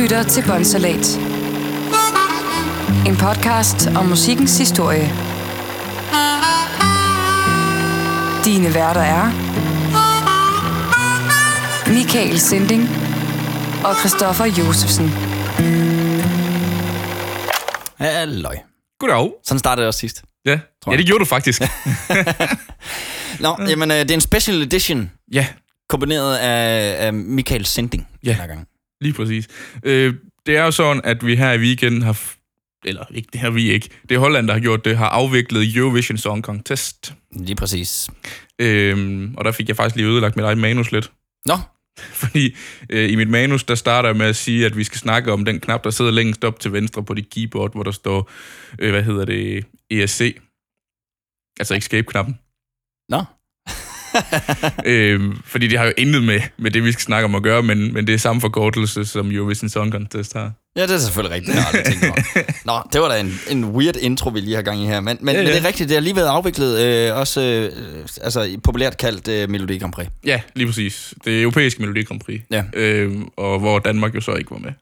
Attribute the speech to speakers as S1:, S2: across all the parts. S1: lytter til Bonsalat. En podcast om musikkens historie. Dine værter er... Michael Sinding og Christoffer Josefsen.
S2: Halløj.
S3: Goddag.
S2: Sådan startede jeg også sidst.
S3: Ja,
S2: jeg.
S3: ja det gjorde du faktisk.
S2: Nå, jamen, øh, det er en special edition,
S3: ja,
S2: kombineret af, af Michael Sending
S3: Ja.
S2: den her gang.
S3: lige præcis. Øh, det er jo sådan, at vi her i weekenden har... f- Eller ikke, det har vi ikke. Det er Holland, der har gjort det, har afviklet Eurovision Song Contest.
S2: Lige præcis.
S3: Øhm, og der fik jeg faktisk lige ødelagt mit eget manus lidt.
S2: Nå,
S3: Fordi øh, i mit manus, der starter jeg med at sige, at vi skal snakke om den knap, der sidder længst op til venstre på dit keyboard, hvor der står, øh, hvad hedder det, ESC. Altså escape-knappen.
S2: nå.
S3: øh, fordi det har jo intet med, med det, vi skal snakke om at gøre, men, men det er samme forkortelse, som Eurovision Song Contest har.
S2: Ja, det er selvfølgelig rigtigt. Jeg har aldrig tænkt over. Nå, det var da en, en weird intro, vi lige har gang i her. Men, men, ja,
S3: Ja,
S2: ja.
S3: ja.
S2: men det er rigtigt, det har lige været afviklet, øh, også øh, altså, populært kaldt øh, Melodi Grand Prix.
S3: Ja, lige præcis. Det europæiske Melodi Grand Prix.
S2: Ja.
S3: Øh, og hvor Danmark jo så ikke var med.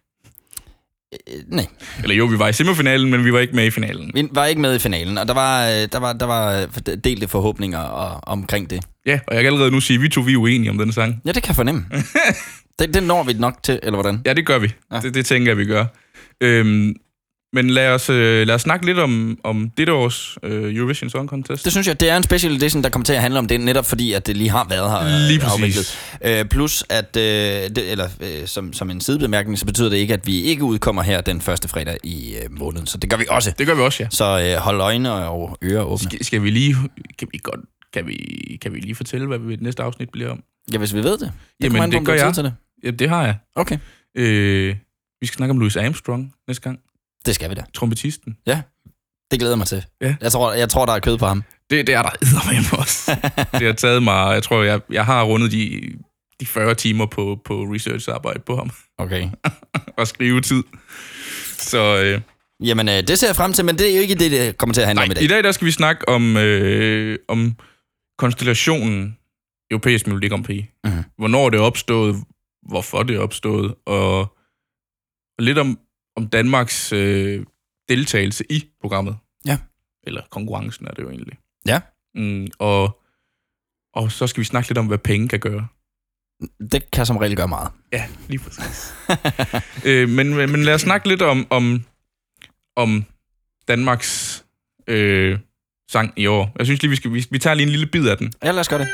S2: Øh, nej,
S3: Eller jo, vi var i semifinalen, men vi var ikke med i finalen.
S2: vi var ikke med i finalen, og der var, øh, der var, der var øh, delte forhåbninger og, omkring det.
S3: Ja, og jeg kan allerede nu sige, at vi to vi er uenige om den sang.
S2: Ja, det kan jeg fornemme. det, det når vi nok til, eller hvordan?
S3: Ja, det gør vi.
S2: Ja.
S3: Ja. Det, det tænker jeg, vi gør. Øhm, men lad os, øh, lad os snakke lidt om, om dette års øh, Eurovision Song Contest.
S2: Det synes jeg, det er en special edition, der kommer til at handle om det, netop fordi, at det lige har været her. øh,
S3: Lige præcis.
S2: Øh, plus, at, øh, det, eller øh, som, som en sidebemærkning, så betyder det ikke, at vi ikke udkommer her den første fredag i øh, måneden. Så det gør vi også.
S3: det gør vi også, ja.
S2: Så øh, hold øjne og ører åbne.
S3: Skal, skal vi lige... Kan vi godt... Kan vi, kan vi lige fortælle, hvad vi- næste afsnit bliver om?
S2: Ja, hvis vi ved det.
S3: Jamen,
S2: kommer an på,
S3: det
S2: om du
S3: gør
S2: har tid
S3: jeg.
S2: Til det.
S3: Ja, det har jeg.
S2: Okay,
S3: Øh, vi skal snakke om Louis Armstrong næste gang.
S2: det skal vi da.
S3: Trompetisten.
S2: Det glæder jeg mig til.
S3: Ja.
S2: Jeg, tror, jeg tror, der er kød på ham.
S3: Det, det er der eddermame også. det har taget mig... Jeg tror, jeg, jeg har rundet de, de 40 timer på, på researcharbejde på ham.
S2: Okay.
S3: Og skrivetid. Så... Øh,
S2: Jamen, øh, det ser jeg frem til, men det er jo ikke det, det kommer til at handle om i
S3: Nej,
S2: dag.
S3: i dag der skal vi snakke om, øh, om konstellationen europæisk Melodi Grand Prix.
S2: Mhm.
S3: Hvornår det er opstået, hvorfor det er opstået, og, og lidt om, om Danmarks øh, deltagelse i programmet.
S2: Ja.
S3: Eller konkurrencen er det jo egentlig.
S2: Ja.
S3: Mm, og, og så skal vi snakke lidt om, hvad penge kan gøre.
S2: Det kan som regel gøre meget.
S3: Ja, lige præcis. øh, men, men men lad os snakke lidt om, om, om Danmarks øh, sang i år. Jeg synes lige, vi, skal, vi, vi tager lige en lille bid af den.
S2: Ja, lad os gøre det.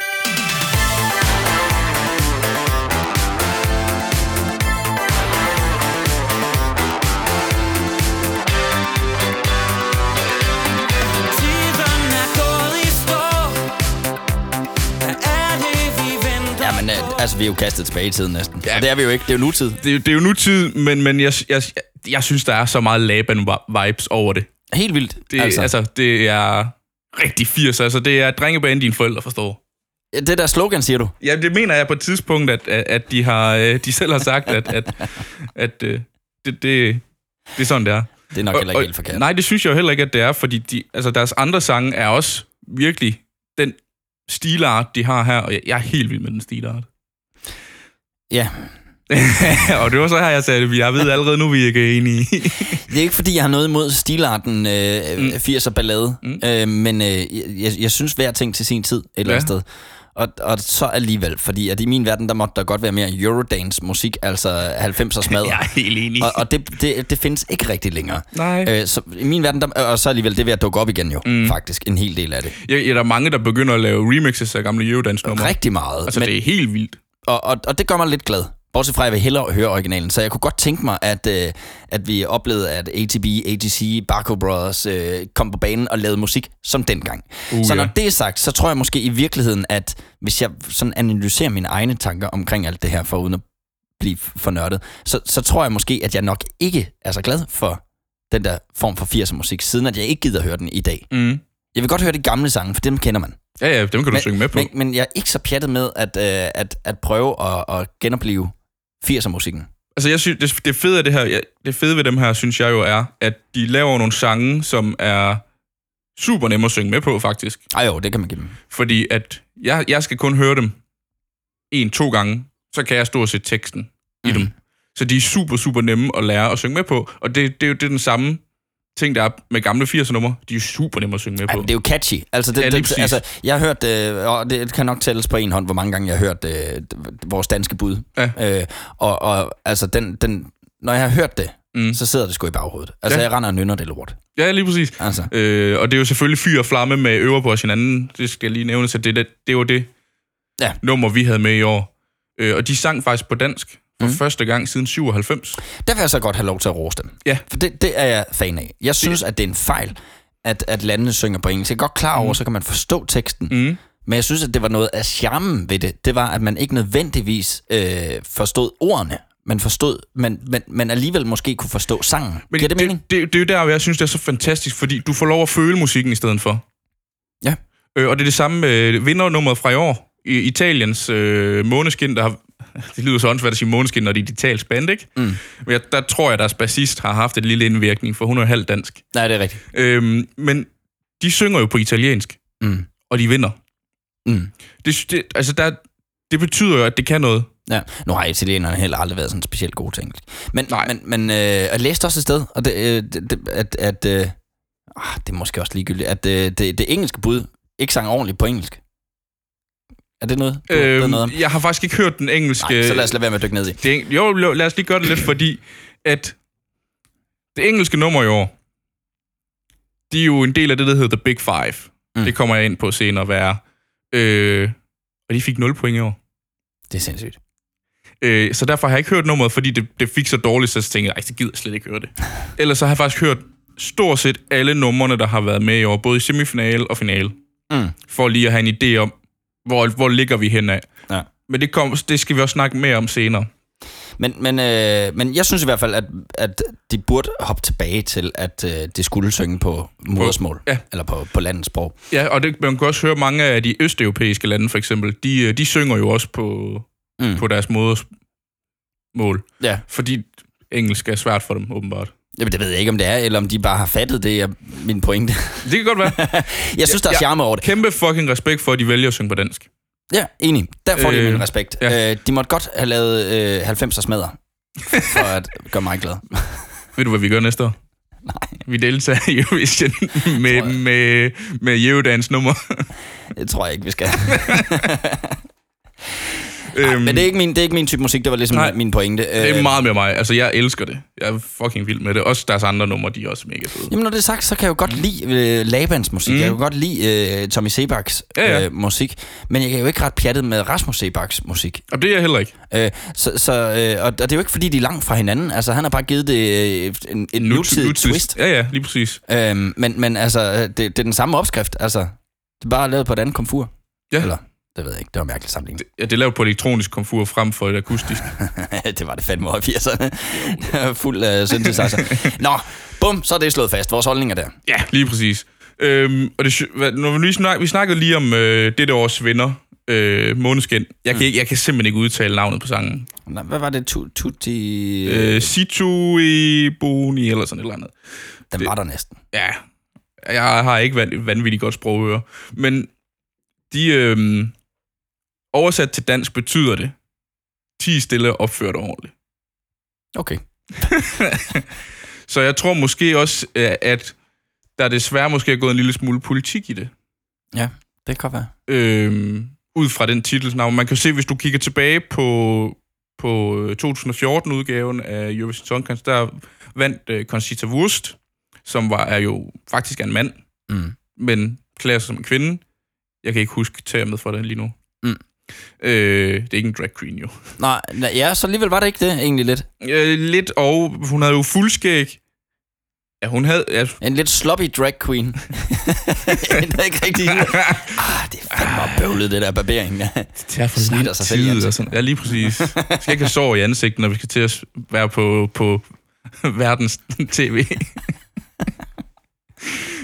S2: Jamen, øh, altså, vi er jo kastet tilbage i tiden næsten. Ja.
S3: Ja.
S2: Og det er vi jo ikke. Det er jo nutid.
S3: Det, er jo- det er jo nutid, men, men jeg, jeg, jeg, jeg synes, der er så meget Laban-vibes over det.
S2: Helt vildt.
S3: det altså. altså, det er rigtig 80. Altså, det er drengebane, dine forældre forstår.
S2: Det der slogan, siger du?
S3: Ja, det mener jeg på et tidspunkt, at, at, at de, har, øh, de selv har sagt, at, at, at øh, det, det, det er sådan, det er.
S2: Det er nok heller ikke helt forkert.
S3: Nej, det synes jeg jo heller ikke, at det er, fordi de, altså, deres andre sange er også virkelig den stilart, de har her, og jeg, jeg er helt vild med den stilart.
S2: Ja.
S3: og det var så her, jeg sagde det. Jeg ved allerede nu, vi ikke er enige.
S2: Det er ikke, fordi jeg har noget imod stilarten øh, mm. 80'er ballade, mm.
S3: Mm.
S2: øh, men øh, jeg, jeg synes hver ting til sin tid et eller
S3: Ja.
S2: andet sted. Og, og så alligevel, fordi at i min verden, der måtte der godt være mere Eurodance-musik, altså 90'er smadre.
S3: jeg er helt enig.
S2: Og, og det, det, det findes ikke rigtig længere.
S3: Nej.
S2: Øh, så i min verden, der, og så alligevel, det er ved at dukke op igen jo, mm. faktisk, en hel del af det.
S3: Jeg, jeg, der er mange, der begynder at lave remixes af gamle Eurodance-numre.
S2: Rigtig meget.
S3: Altså, men... det er helt vildt.
S2: og, og, og det gør mig lidt glad. Bortset fra, at jeg vil hellere høre originalen. Så jeg kunne godt tænke mig, at, øh, at vi oplevede, at ATB, ATC, Barco Brothers øh, kom på banen og lavede musik som dengang. Uh,
S3: Uh,
S2: så når
S3: ja.
S2: det er sagt, så tror jeg måske i virkeligheden, at hvis jeg sådan analyserer mine egne tanker omkring alt det her, for uden at blive for nørdet, så, så tror jeg måske, at jeg nok ikke er så glad for den der form for 80'er musik, siden at jeg ikke gider høre den i dag.
S3: Mm.
S2: Jeg vil godt høre de gamle sange, for dem kender man.
S3: Ja, ja, dem kan du men, synge med på.
S2: Men,
S3: Men...
S2: men jeg er ikke så pjattet med at, øh, at, at prøve at, at genopleve 80'er-musikken.
S3: Altså, jeg synes, det, det, fede af det, her, ja, det fede ved dem her, synes jeg jo er, at de laver nogle sange, som er super nemme at synge med på, faktisk.
S2: Ej jo, det kan man give dem.
S3: Fordi at jeg, jeg skal kun høre dem en, to gange, så kan jeg stå og se teksten i
S2: Mhm.
S3: dem. Så de er super, super nemme at lære at synge med på. Og det, det, er jo det er den samme ting, der er med gamle 80'er numre. De er jo super nemme at synge med
S2: Ej,
S3: på.
S2: men det er jo catchy. Altså, det,
S3: Ja,
S2: ja,
S3: lige
S2: det,
S3: præcis.
S2: altså jeg har hørt, øh, og det kan nok tælles på en hånd, hvor mange gange jeg har hørt øh, d- vores danske bud.
S3: Ja.
S2: Øh, og, og altså, den, den, når jeg har hørt det,
S3: Mm.
S2: mm. så sidder det sgu i baghovedet. Altså,
S3: Ja.
S2: ja. jeg render og nynner det lort.
S3: Ja, lige præcis.
S2: Altså.
S3: Øh, og det er jo selvfølgelig fyr og flamme med øver på os hinanden. Det skal jeg lige nævne, så det, er det, det var det
S2: Ja.
S3: nummer, vi havde med i år. Øh, og de sang faktisk på dansk
S2: Mm.
S3: for mm. første gang siden 97.
S2: Der vil jeg så godt have lov til at rose dem.
S3: Ja.
S2: For det, det er jeg fan af. Jeg synes, at det er en fejl, at, at landene synger på engelsk. Jeg er godt klar over, mm. så kan man forstå teksten.
S3: Mm.
S2: Men jeg synes, at det var noget af charmen ved det. Det var, at man ikke nødvendigvis øh, forstod ordene. Man forstod, men, men, men alligevel måske kunne forstå sangen. Men Giver det, det mening?
S3: Det, det, det er jo der, hvor jeg synes, det er så fantastisk, fordi du får lov at føle musikken i stedet for.
S2: Ja.
S3: Øh, og det er det samme med vindernummeret fra i år. I, Italiens øh, måneskin, der har... Det lyder så åndssvagt at sige måneskin, når det er et italsk band, ikke? Mm. Men jeg, der tror jeg, deres bassist har haft en lille indvirkning, for hun er jo halv dansk.
S2: Nej, det er rigtigt.
S3: Øhm, men de synger jo på italiensk,
S2: Mm.
S3: og de vinder.
S2: Mm.
S3: Det, det, altså der, det betyder jo, at det kan noget.
S2: Ja. Nu har italienerne heller aldrig været sådan specielt gode til engelsk. Men,
S3: Nej.
S2: men, men øh, jeg læste også et sted, og det, øh, det, det- at, at øh, ah, det er måske også ligegyldigt, at øh, det, det engelske bud ikke sang ordentligt på engelsk. Er det noget, du øhm, ved noget om?
S3: jeg har faktisk ikke hørt den engelske...
S2: Nej, så lad os lade være med at dykke ned i.
S3: det, eng- jo, jo, lad os lige gøre det lidt, fordi at det engelske nummer i år, de er jo en del af det, der hedder The Big Five. Mm.
S2: Mm.
S3: Det kommer jeg ind på senere, hvad er. Øh, og de fik 0 point i år.
S2: Det er sindssygt.
S3: Øh, så derfor har jeg ikke hørt nummeret, fordi det, det fik så dårligt, så jeg tænkte, jeg, "Ej, så gider jeg slet ikke høre det. Ellers så har jeg faktisk hørt stort set alle numrene, der har været med i år, både i semifinale og finale,
S2: Mm.
S3: for lige at have en idé om, hvor, hvor ligger vi henad.
S2: Ja.
S3: Men det, kom, det skal vi også snakke mere om senere.
S2: Men, men, øh, men jeg synes i hvert fald, at, at de burde hoppe tilbage til, at øh, det skulle synge på modersmål.
S3: ja.
S2: Eller på, på landets sprog.
S3: Ja, og det, man kan også høre mange af de østeuropæiske lande, for eksempel, de, øh, de synger jo også på, mm.
S2: Mm.
S3: på deres modersmål,
S2: Ja.
S3: fordi engelsk er svært for dem, åbenbart.
S2: Jamen, det ved jeg ikke, om det er, eller om de bare har fattet det, jeg, min pointe.
S3: Det kan godt være.
S2: jeg synes, der
S3: Ja,
S2: er
S3: ja.
S2: charme over det.
S3: Kæmpe fucking respekt for, at de vælger at synge på dansk.
S2: Ja, enig. Der får øh,
S3: Øh,
S2: de min respekt.
S3: ja.
S2: Ja. Øh, de måtte godt have lavet øh, 90'er smadder, for at gøre mig glad.
S3: Ved du, hvad vi gør næste år? Nej. Vi deltager i Eurovision med, med, med Jeudans nummer.
S2: Det tror jeg ikke, vi skal.
S3: Øhm,
S2: Men det er ikke min, det er ikke min type musik, det var ligesom
S3: Nej.
S2: Nej. min pointe.
S3: det er
S2: Øh,
S3: meget med mig. Altså, jeg elsker det. Jeg er fucking vild med det. Også deres andre numre, de er også mega fede.
S2: Jamen, når det er sagt, så kan jeg jo godt lide øh, Labans musik. Mm. Jeg kan jo godt lide øh, Tommy Sebaks
S3: Mhm. Ja, ja.
S2: øh, musik. Men jeg kan jo ikke ret pjattet med Rasmus Sebaks musik.
S3: Og det er jeg heller ikke.
S2: Øh, så, så, øh, og, og det er jo ikke, fordi de er langt fra hinanden. Altså, han har bare givet det øh, en, en nutidig
S3: Nutids-
S2: twist.
S3: Ja, ja, lige præcis.
S2: Øhm, men, men altså, øh, det, det er den samme opskrift. Altså, det er bare lavet på et andet komfur.
S3: Ja.
S2: Eller, det ved jeg ikke. Det var en mærkelig sammenligning.
S3: Ja, det er lavet på elektronisk komfur frem for et akustisk.
S2: det var det fandme over 80'erne. Fuld af synthesizer. Nå, bum, så er det slået fast. Vores holdning er der.
S3: ja, lige præcis. Øhm, og det, sy- hvad- når vi, lige snak, vi snakkede lige om øh, dette års venner, øh, Måneskin. Jeg kan, ikke, jeg kan simpelthen ikke udtale navnet på sangen.
S2: Nå, Hvad var det? Tu- Tutti... Øh,
S3: Øh, Situ i Boni, eller sådan et eller andet.
S2: den var der næsten.
S3: ja, jeg har ikke van- vanvittigt godt sprogøre, men de øhm, oversat til dansk betyder det, 10 stille og opført ordentligt.
S2: Okay.
S3: Så jeg tror måske også, øh, at der desværre måske er gået en lille smule politik i det,
S2: Ja, det kan godt være.
S3: øhm, ud fra den titelsnavn. Man kan se, hvis du kigger tilbage på, på øh, 2014-udgaven af Eurovision Song Contest, der vandt øh, Conchita Wurst, som var, er jo faktisk er en mand,
S2: Mm.
S3: men klæder sig som en kvinde. Jeg kan ikke huske termet for det lige nu.
S2: Mm.
S3: Øh, det er ikke en drag queen, jo.
S2: Nej, nej, ja, så alligevel var det ikke det egentlig lidt.
S3: Øh, lidt, og hun havde jo fuldskæg. Ja, hun havde... Ja,
S2: En lidt sloppy drag queen. det er ikke rigtig... Ah, det er fandme bøvlet, det der barbering.
S3: det er for
S2: Snitter lidt sig selv i tid og ansigtet.
S3: Ja, lige præcis. Vi skal ikke have sår i ansigtet, når vi skal til at være på, på verdens tv.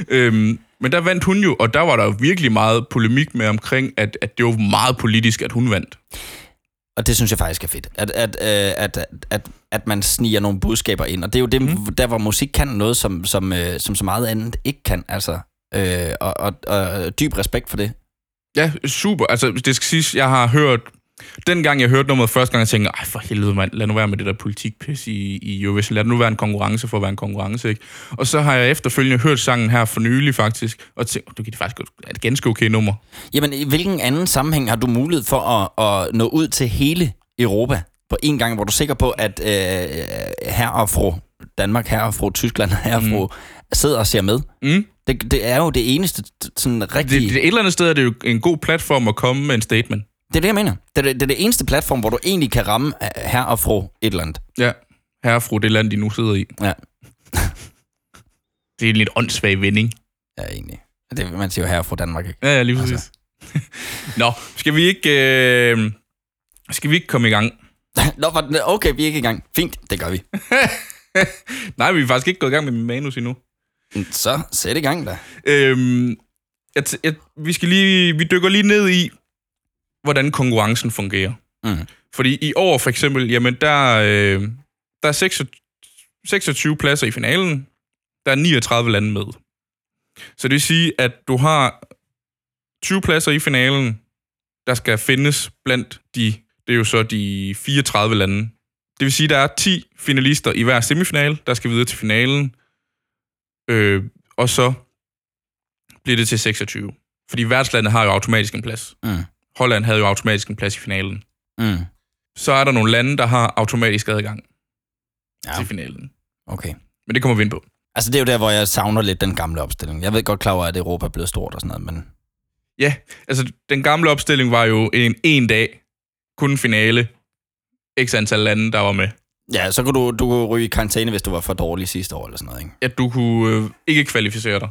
S3: øhm, men der vandt hun jo, og der var der jo virkelig meget polemik med omkring, at, at det var meget politisk, at hun vandt.
S2: Og det synes jeg faktisk er fedt, at, at, øh, at, at, at, at man sniger nogle budskaber ind. Og det er jo det, mm. der hvor musik kan noget, som, som, øh, som så meget andet ikke kan. Altså, øh, og, og, og dyb respekt for det.
S3: Ja, super. Altså, det skal siges, jeg har hørt Dengang jeg hørte nummeret første gang, jeg tænkte, ej for helvede mand, lad nu være med det der politikpis i, i Eurovision. Lad det nu være en konkurrence for at være en konkurrence, ikke? Og så har jeg efterfølgende hørt sangen her for nylig faktisk, og tænkt, du kan det faktisk godt- er et ganske okay nummer.
S2: Jamen, i hvilken anden sammenhæng har du mulighed for at, at nå ud til hele Europa på en gang, hvor du er sikker på, at øh, herre og fru Danmark, herre og fru Tyskland, herre og fru sidder og ser med?
S3: Mm.
S2: Det, det er jo det eneste t- sådan
S3: Det,
S2: rigtige...
S3: det, et eller andet sted er det jo en god platform at komme med en statement.
S2: Det er det, jeg mener. Det er det, det, er det eneste platform, hvor du egentlig kan ramme øh, herre og fru et eller andet.
S3: Ja, herre og fru, det land, de nu sidder i.
S2: Ja.
S3: Det er en lidt åndssvag vending.
S2: Ja, egentlig. Det, man siger jo herre og fru Danmark, ikke?
S3: Ja, ja, lige præcis.
S2: Altså.
S3: Altså. Nå, skal vi ikke... Øh, skal vi ikke komme i gang?
S2: Nå, var den- okay, vi er ikke i gang. Fint, det gør vi.
S3: Nej, vi er faktisk ikke gået i gang med min manus endnu.
S2: Så sæt i gang da.
S3: Øhm, jeg, t- jeg, vi, skal lige, vi dykker lige ned i, hvordan konkurrencen fungerer.
S2: Mm.
S3: Fordi i år for eksempel, jamen der, øh, der er 26, 26 pladser i finalen. Der er 39 lande med. Så det vil sige, at du har 20 pladser i finalen, der skal findes blandt de, det er jo så de 34 lande. Det vil sige, at der er 10 finalister i hver semifinal, der skal videre til finalen. Øh, og så bliver det til 26. Fordi værtslandet har jo automatisk en plads.
S2: Mm.
S3: Holland havde jo automatisk en plads i finalen.
S2: Mm.
S3: Så er der nogle lande, der har automatisk adgang
S2: Ja.
S3: ja. til finalen.
S2: Okay.
S3: Men det kommer vi ind på.
S2: Altså, det er jo der, hvor jeg savner lidt den gamle opstilling. Jeg ved godt, Claus, at Europa er blevet stort og sådan noget, men...
S3: Ja, altså den gamle opstilling var jo en, en dag, kun finale, x antal lande, der var med.
S2: Ja, så kunne du, du kunne ryge i karantæne, hvis du var for dårlig sidste år eller sådan noget, ikke?
S3: At du kunne øh, ikke kvalificere dig.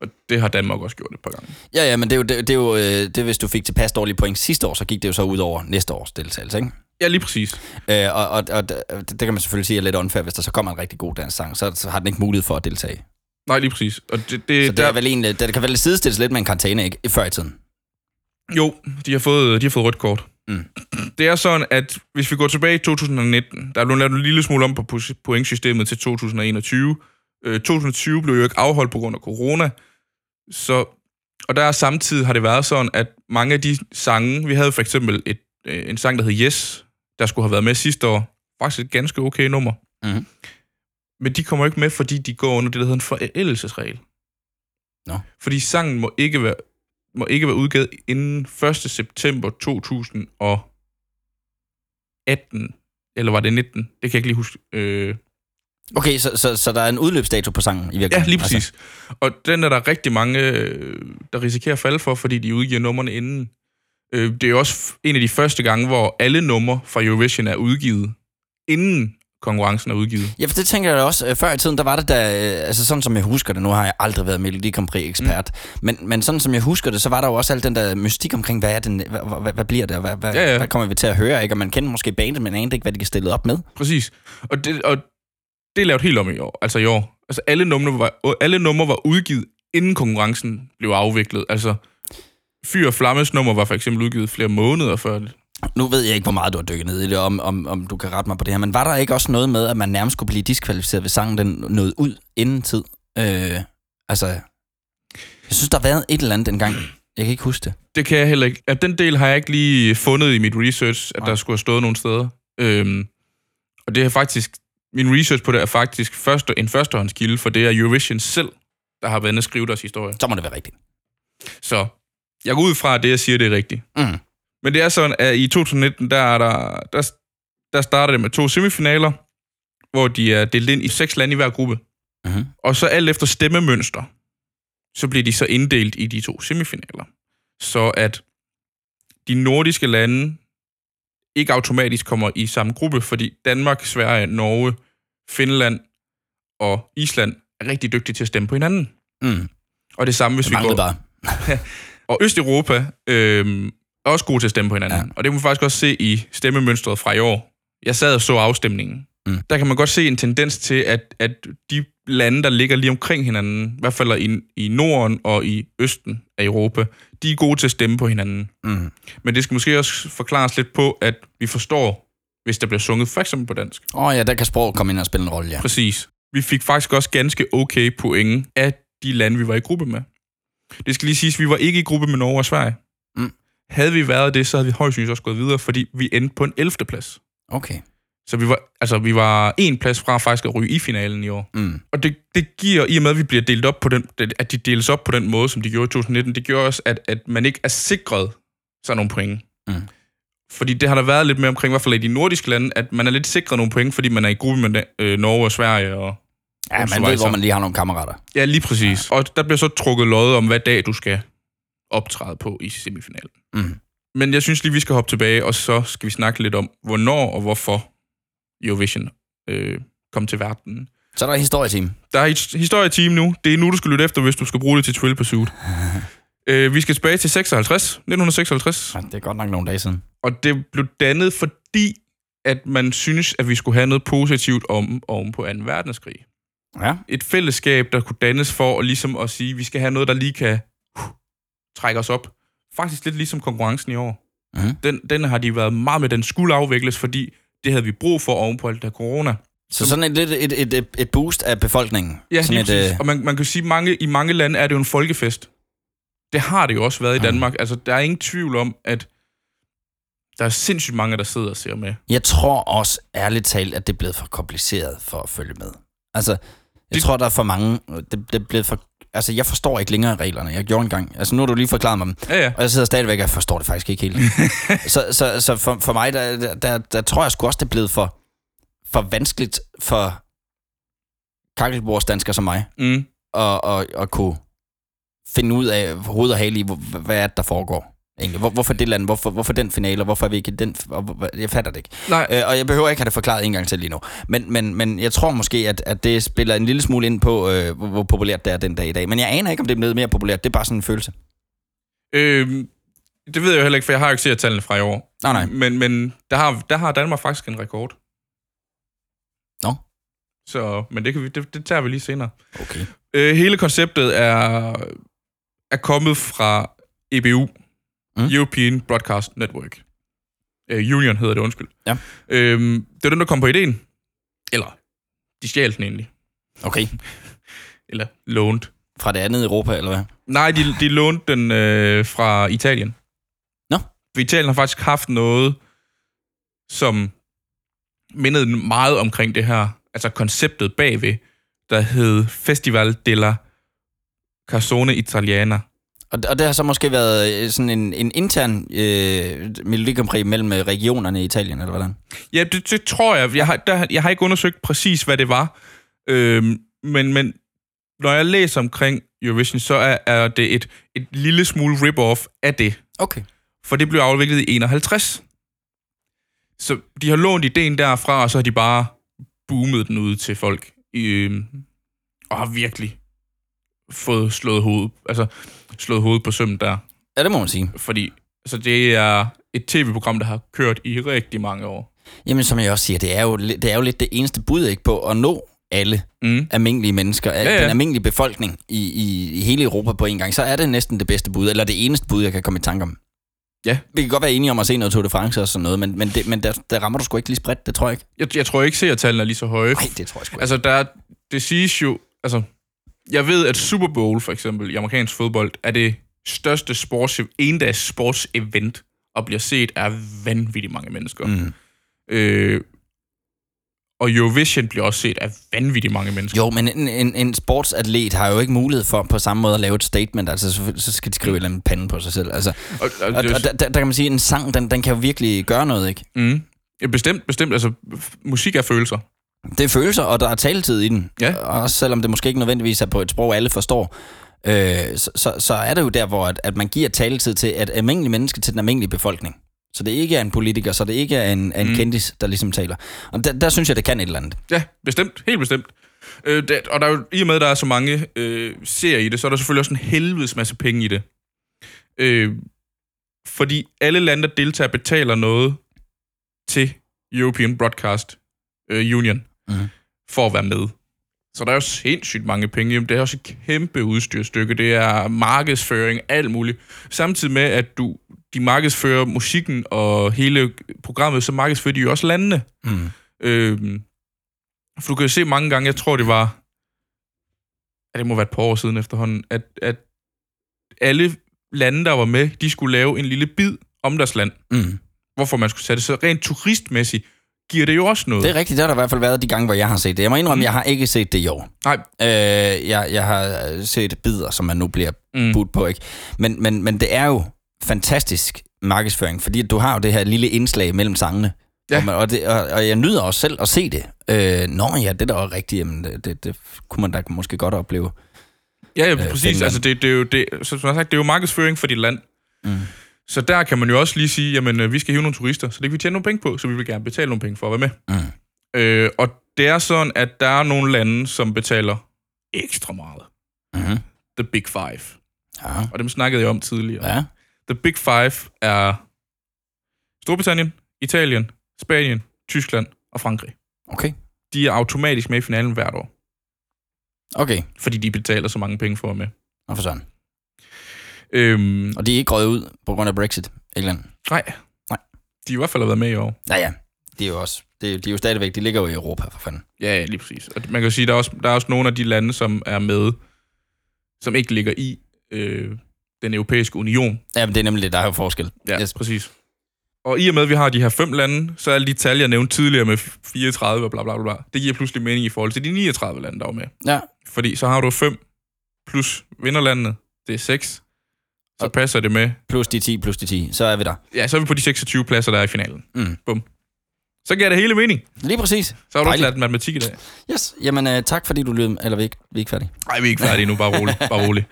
S3: Og det har Danmark også gjort et par gange.
S2: Ja, ja, men det er jo, det, det er jo øh, det, hvis du fik tilpas dårlige point sidste år, så gik det jo så ud over næste års deltagelse, ikke?
S3: Ja, lige præcis.
S2: Øh, og, og, og det, det kan man selvfølgelig sige er lidt unfair, hvis der så kommer en rigtig god dansk sang, så, så har den ikke mulighed for at deltage.
S3: Nej, lige præcis. Og det, det,
S2: Så det, er vel egentlig, det kan vel sidestilles lidt med en karantæne, ikke? Før i tiden.
S3: Jo, de har fået, de har fået rødt kort.
S2: Mm.
S3: Det er sådan, at hvis vi går tilbage i 2019, der er blevet lavet en lille smule om på pos- pointsystemet til 2021. Øh, 2020 blev jo ikke afholdt på grund af corona, så, og der er samtidig har det været sådan, at mange af de sange, vi havde for eksempel et, øh, en sang, der hed Yes, der skulle have været med sidste år, faktisk et ganske okay nummer.
S2: Mhm.
S3: Men de kommer ikke med, fordi de går under det, der hedder en forældelsesregel.
S2: Nå.
S3: Fordi sangen må ikke være må ikke være udgivet inden 1. september 2018. Eller var det 19? Det kan jeg ikke lige huske. Øh,
S2: Okay, så, så, så der er en udløbsdato på sangen i
S3: ja,
S2: virkeligheden? Altså,
S3: lige præcis. Og den er der rigtig mange, øh, der risikerer at falde for, fordi de udgiver numrene inden. Øh, det er jo også f- en af de første gange, hvor alle numre fra Eurovision er udgivet, inden konkurrencen er udgivet.
S2: Ja, for det tænker jeg da også. Øh, Før i tiden, der var det da, øh, altså sådan som jeg husker det, nu har jeg aldrig været Melodi Grand Prix ekspert, mm. men, men sådan som jeg husker det, så var der jo også al den der mystik omkring, hvad, er den, hvad, hvad, hvad bliver det, og hvad, hvad,
S3: Ja,
S2: ja,
S3: ja.
S2: ja. hvad kommer vi til at høre, ikke? Og man kender måske bandet, men anede ikke, hvad de kan stille op med.
S3: Præcis. Og det, og det er lavet helt om i år, altså i år. Altså alle numre var, alle numre var udgivet, inden konkurrencen blev afviklet. Altså Fyr og Flammes nummer var for eksempel udgivet flere måneder før. det.
S2: Nu ved jeg ikke, hvor meget du har dykket ned i det, om, om, om du kan rette mig på det her, men var der ikke også noget med, at man nærmest kunne blive diskvalificeret, hvis sangen den nåede ud inden tid? Øh, altså, jeg synes, der har været et eller andet dengang. Jeg kan ikke huske det.
S3: Det kan jeg heller ikke. At den del har jeg ikke lige fundet i mit research, at
S2: Nej.
S3: der skulle have stået nogle steder. Øhm, og det er faktisk, min research på det er faktisk første, en førstehåndskilde, for det er Eurovision selv, der har været inde og skrive deres historie.
S2: Så må det være rigtigt.
S3: Så jeg går ud fra, at det, jeg siger, det er rigtigt.
S2: Mm.
S3: Men det er sådan, at i 2019, der, er der, der, der starter det med to semifinaler, hvor de er delt ind i seks lande i hver gruppe.
S2: Mhm.
S3: Og så alt efter stemmemønster, så bliver de så inddelt i de to semifinaler. Så at de nordiske lande ikke automatisk kommer i samme gruppe, fordi Danmark, Sverige, Norge, Finland og Island er rigtig dygtige til at stemme på hinanden.
S2: Mm.
S3: Og det samme, hvis
S2: Det
S3: vi går...
S2: manglede bare.
S3: Og Østeuropa øh, er også gode til at stemme på hinanden. Ja. Og det kan man faktisk også se i stemmemønstret fra i år. Jeg sad og så afstemningen.
S2: Mm.
S3: Mm. Der kan man godt se en tendens til, at, at de lande, der ligger lige omkring hinanden, i hvert fald i, i Norden og i Østen af Europa, de er gode til at stemme på hinanden.
S2: Mm.
S3: Men det skal måske også forklares lidt på, at vi forstår, hvis der bliver sunget for eksempel på dansk.
S2: Åh oh, ja, der kan sprog komme ind og spille en rolle, ja.
S3: Præcis. Vi fik faktisk også ganske okay point af de lande, vi var i gruppe med. Det skal lige siges, vi var ikke i gruppe med Norge og Sverige.
S2: Mm.
S3: Havde vi været det, så havde vi højst sandsynligt også gået videre, fordi vi endte på en 11. plads.
S2: Okay.
S3: Så vi var, altså, vi var en plads fra faktisk at ryge i finalen i år.
S2: Mm.
S3: Og det, det giver, i og med at vi bliver delt op på den, at de deles op på den måde, som de gjorde i 2019, det gjorde også, at, at man ikke er sikret sådan nogle point.
S2: Mm.
S3: Fordi det har der været lidt mere omkring, i hvert fald i de nordiske lande, at man er lidt sikret nogle point, fordi man er i gruppe med øh, Norge og Sverige og
S2: Ja, man ved,
S3: Schweizer.
S2: hvor man lige har nogle kammerater.
S3: Ja, lige præcis. Og der bliver så trukket lod om, hvad dag du skal optræde på i semifinalen.
S2: Mm.
S3: Men jeg synes lige, vi skal hoppe tilbage, og så skal vi snakke lidt om, hvornår og hvorfor Eurovision øh, kom til verden.
S2: Så er der historietime.
S3: Der er et historieteam nu. Det er nu, du skal lytte efter, hvis du skal bruge det til Trill Pursuit. øh, vi skal tilbage til 56, 1956.
S2: Ja, Det er godt nok nogle dage siden.
S3: Og det blev dannet, fordi at man synes, at vi skulle have noget positivt om oven på 2. verdenskrig
S2: Ja.
S3: et fællesskab, der kunne dannes for at, ligesom at sige, vi skal have noget, der lige kan huh, trække os op. Faktisk lidt ligesom konkurrencen i år.
S2: Mhm.
S3: Den, den har de været meget med, den skulle afvikles, fordi det havde vi brug for oven på alt der corona.
S2: Så sådan et, lidt et, et, et, et boost af befolkningen.
S3: Ja,
S2: sådan
S3: lige
S2: et,
S3: præcis.
S2: øh,
S3: Og man, man kan sige, mange, i mange lande er det jo en folkefest. Det har det jo også været i
S2: Ja.
S3: Danmark. Altså, der er ingen tvivl om, at der er sindssygt mange, der sidder og ser med.
S2: øh, Jeg tror også, ærligt talt, at det er blevet for kompliceret for at følge med. Altså, jeg
S3: Det-
S2: det... tror, der er for mange... øh, Det, det er blevet for... Altså, jeg forstår ikke længere reglerne. Jeg gjorde engang... Altså, nu har du lige forklaret mig dem.
S3: Ja, ja.
S2: Og jeg sidder stadigvæk og forstår det faktisk ikke helt. så så, så for, for mig, der, der, der, der tror jeg sgu også, det er blevet for, for vanskeligt for kakkelbordsdanskere som mig
S3: Mm.
S2: at, at, at kunne finde ud af hoved og hale i, hvor- hvad er det, der foregår. Egentlig. Hvor, hvorfor det land? Hvorfor, hvorfor den finale? Og hvorfor er vi ikke i den? Og, hvor- jeg fatter det ikke.
S3: Nej,
S2: Øh, og jeg behøver ikke have det forklaret en gang til lige nu. Men, men, men jeg tror måske, at, at det spiller en lille smule ind på, øh, hvor, hvor populært det er den dag i dag. Men jeg aner ikke, om det er blevet mere populært. Det er bare sådan en følelse.
S3: Øh, det ved jeg jo heller ikke, for jeg har jo ikke set tallene fra i år.
S2: Nej, nej.
S3: Men, men der, har, der har Danmark faktisk en rekord.
S2: Nå.
S3: Så, men det, kan vi, det, det tager vi lige senere.
S2: Okay.
S3: Øh, hele konceptet er, er kommet fra EBU,
S2: Mm.
S3: mm. European Broadcast Network. Øh, Union hedder det, undskyld.
S2: Ja.
S3: Øhm, det var den, der kom på ideen. Eller, de stjal den egentlig.
S2: Okay.
S3: Eller lånte.
S2: Fra det andet Europa, eller hvad?
S3: Nej, de, de lånte den øh, fra Italien.
S2: Nå.
S3: For Italien har faktisk haft noget, som mindede meget omkring det her, altså konceptet bagved, der hed Festival della Canzone Italiana.
S2: Og, og det har så måske været øh, sådan en, en intern øh, melodikompræg mellem øh, regionerne i Italien, eller hvordan?
S3: Ja, det, det tror jeg. Jeg har, der, jeg har ikke undersøgt præcis, hvad det var. Øhm, men, men når jeg læser omkring Eurovision, så er, er det et, et lille smule rip-off af det.
S2: Okay.
S3: for det blev afviklet i 51. Så de har lånt ideen derfra, og så har de bare boomet den ud til folk. Øh, og har virkelig fået slået hovedet, altså slået hovedet på sømmen der.
S2: Ja, det må man sige.
S3: Fordi altså, det er et tv-program, der har kørt i rigtig mange år.
S2: Jamen, som jeg også siger, det er jo, li- det er jo lidt det eneste bud ikke på at nå alle
S3: Mm.
S2: almindelige mennesker, ja,
S3: ja.
S2: ja. den almindelige befolkning i, i, i hele Europa på en gang, så er det næsten det bedste bud, eller det eneste bud, jeg kan komme i tanke om.
S3: Ja.
S2: Vi kan godt være enige om at se noget Tour de France og sådan noget, men, men, det, men der, der rammer du sgu ikke lige spredt, det tror jeg ikke.
S3: Jeg, jeg tror ikke, seertallene er lige så høje.
S2: Nej, det tror jeg sgu ikke.
S3: Altså, der, er- det siges jo... Altså, jeg ved, at Super Bowl, for eksempel, i amerikansk fodbold, er det største sports, endags sportsevent, og bliver set af vanvittigt mange mennesker. Mm.
S2: Mm.
S3: Øh, og Eurovision bliver også set af vanvittigt mange mennesker.
S2: Jo, men en, en, en sportsatlet har jo ikke mulighed for på samme måde at lave et statement, altså så, så skal de skrive et eller andet pande på sig selv. Altså,
S3: Og, og,
S2: og
S3: det er
S2: og der, der, der kan man sige, at en sang, den, den kan jo virkelig gøre noget, ikke?
S3: jo- mm, Ja, bestemt, bestemt. Altså, f- musik er følelser.
S2: Det er følelser, og der er taletid i den.
S3: Ja.
S2: Og også selvom det måske ikke nødvendigvis er på et sprog, alle forstår, øh, så, så, så er det jo der, hvor at, at man giver taletid til at almindelige mennesker til den almindelige befolkning. Så det ikke er en politiker, så det ikke er en, er en
S3: Mm.
S2: mm. kendis, der ligesom taler. Og der, der synes jeg, det kan et eller andet.
S3: Ja, bestemt. Helt bestemt. Øh, det, og der er jo, i og med, at der er så mange øh, serier i det, så er der selvfølgelig også en helvedes masse penge i det. Øh, fordi alle lande, der deltager, betaler noget til European Broadcast øh, Union
S2: Mhm.
S3: for at være med. Så der er jo sindssygt mange penge. Jamen, det er også et kæmpe udstyrstykke. Det er markedsføring, alt muligt. Samtidig med, at du, de markedsfører musikken og hele programmet, så markedsfører de jo også landene.
S2: Mm.
S3: Øhm, for du kan jo se mange gange, jeg tror det var, ja, det må være et par år siden efterhånden, at, at alle lande, der var med, de skulle lave en lille bid om deres land.
S2: Mm.
S3: Hvorfor man skulle tage det. Så rent turistmæssigt giver det jo også noget.
S2: Det er rigtigt, det har der i hvert fald været de gange, hvor jeg har set det. Jeg må indrømme, mm. jeg har ikke set det i år.
S3: Nej,
S2: Øh, jeg, jeg har øh, set bidder, som man nu bliver
S3: Mm.
S2: mm. budt på. Ikke? Men, men, men det er jo fantastisk markedsføring, fordi du har jo det her lille indslag mellem sangene.
S3: Ja.
S2: Ja. Og, man, og, det, og, og jeg nyder også selv at se det. Øh, nå ja, det der var rigtigt, jamen, det, det, det kunne man da måske godt opleve.
S3: Ja, ja, præcis.
S2: Øh, Finland.
S3: Altså, det, det, er jo, det, som jeg har sagt, det er jo markedsføring for dit land. Mm. Så der kan man jo også lige sige, jamen, øh, vi skal hive nogle turister, så det kan vi tjene nogle penge på, så vi vil gerne betale nogle penge for at være med. Mm. Øh, og det er sådan, at der er nogle lande, som betaler ekstra meget.
S2: Mhm.
S3: The Big Five.
S2: Ja,
S3: Og dem snakkede jeg om tidligere.
S2: ja.
S3: The Big Five er Storbritannien, Italien, Spanien, Tyskland og Frankrig.
S2: okay.
S3: De er automatisk med i finalen hvert år,
S2: Okay,
S3: fordi de betaler så mange penge for at være med.
S2: og for sådan.
S3: Øhm,
S2: Og de er ikke røget ud på grund af Brexit, England.
S3: nej.
S2: Nej.
S3: De er i hvert fald har været med i år.
S2: Ja, ja. De er jo også, de, de er jo stadigvæk, de ligger jo i Europa, for fanden.
S3: Ja, ja, lige præcis. Og man kan jo sige, der er, også, der er også nogle af de lande, som er med, som ikke ligger i øh, den europæiske union.
S2: Ja, men det er nemlig det, der er jo forskel.
S3: Ja,
S2: Yes.
S3: yes. præcis. Og i og med, at vi har de her fem lande, så er alle de tal, jeg nævnte tidligere med 34 og bla bla bla, bla, det giver pludselig mening i forhold til de 39 lande, der var med.
S2: Ja,
S3: Fordi så har du fem plus vinderlandene, det er seks, så
S2: Og-
S3: passer det med.
S2: plus de 10, plus de 10, så er vi der.
S3: Ja, så er vi på de 26 pladser, der er i finalen.
S2: Mm.
S3: Bum. Så giver det hele mening.
S2: Lige præcis.
S3: Så har du
S2: Dejligt.
S3: ikke lært matematik i dag.
S2: Yes, jamen øh, tak fordi du lyttede, eller vi er ikke, vi er ikke færdige.
S3: Nej, vi er ikke færdige nu, bare rolig. Bare rolig.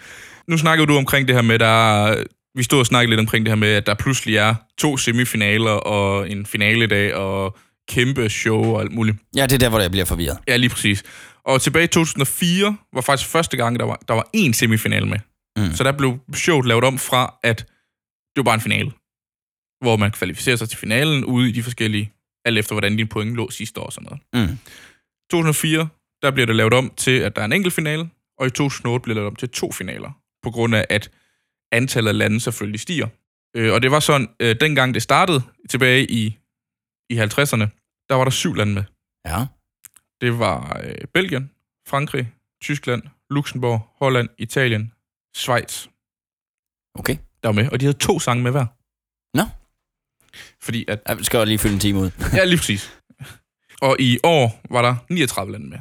S3: Nu snakkede du omkring det her med, der er- vi stod og snakkede lidt omkring det her med, at der pludselig er to semifinaler og en finaledag og kæmpe show og alt muligt.
S2: Ja, det er der, hvor jeg bliver forvirret.
S3: Ja, lige præcis. Og tilbage i 2004 var faktisk første gang, der var, der var én semifinal med. Mm.
S2: Mm.
S3: Så der blev showet lavet om fra, at det var bare en finale, hvor man kvalificerer sig til finalen ude i de forskellige, alt efter hvordan dine point lå sidste år og sådan noget.
S2: Mm.
S3: 2004, der bliver det lavet om til, at der er en enkelt finale, og i 2008 bliver det lavet om til to finaler, på grund af, at antallet af lande selvfølgelig stiger. Øh, og det var sådan, øh, dengang det startede, tilbage i, i 50'erne, der var der syv lande med.
S2: Ja.
S3: Det var øh, Belgien, Frankrig, Tyskland, Luxembourg, Holland, Italien, Schweiz,
S2: Okay.
S3: der var med. Og de havde to sange med hver.
S2: Nå.
S3: Fordi at,
S2: Jeg skal jo lige fylde en time ud.
S3: ja, lige præcis. Og i år var der 39 lande med.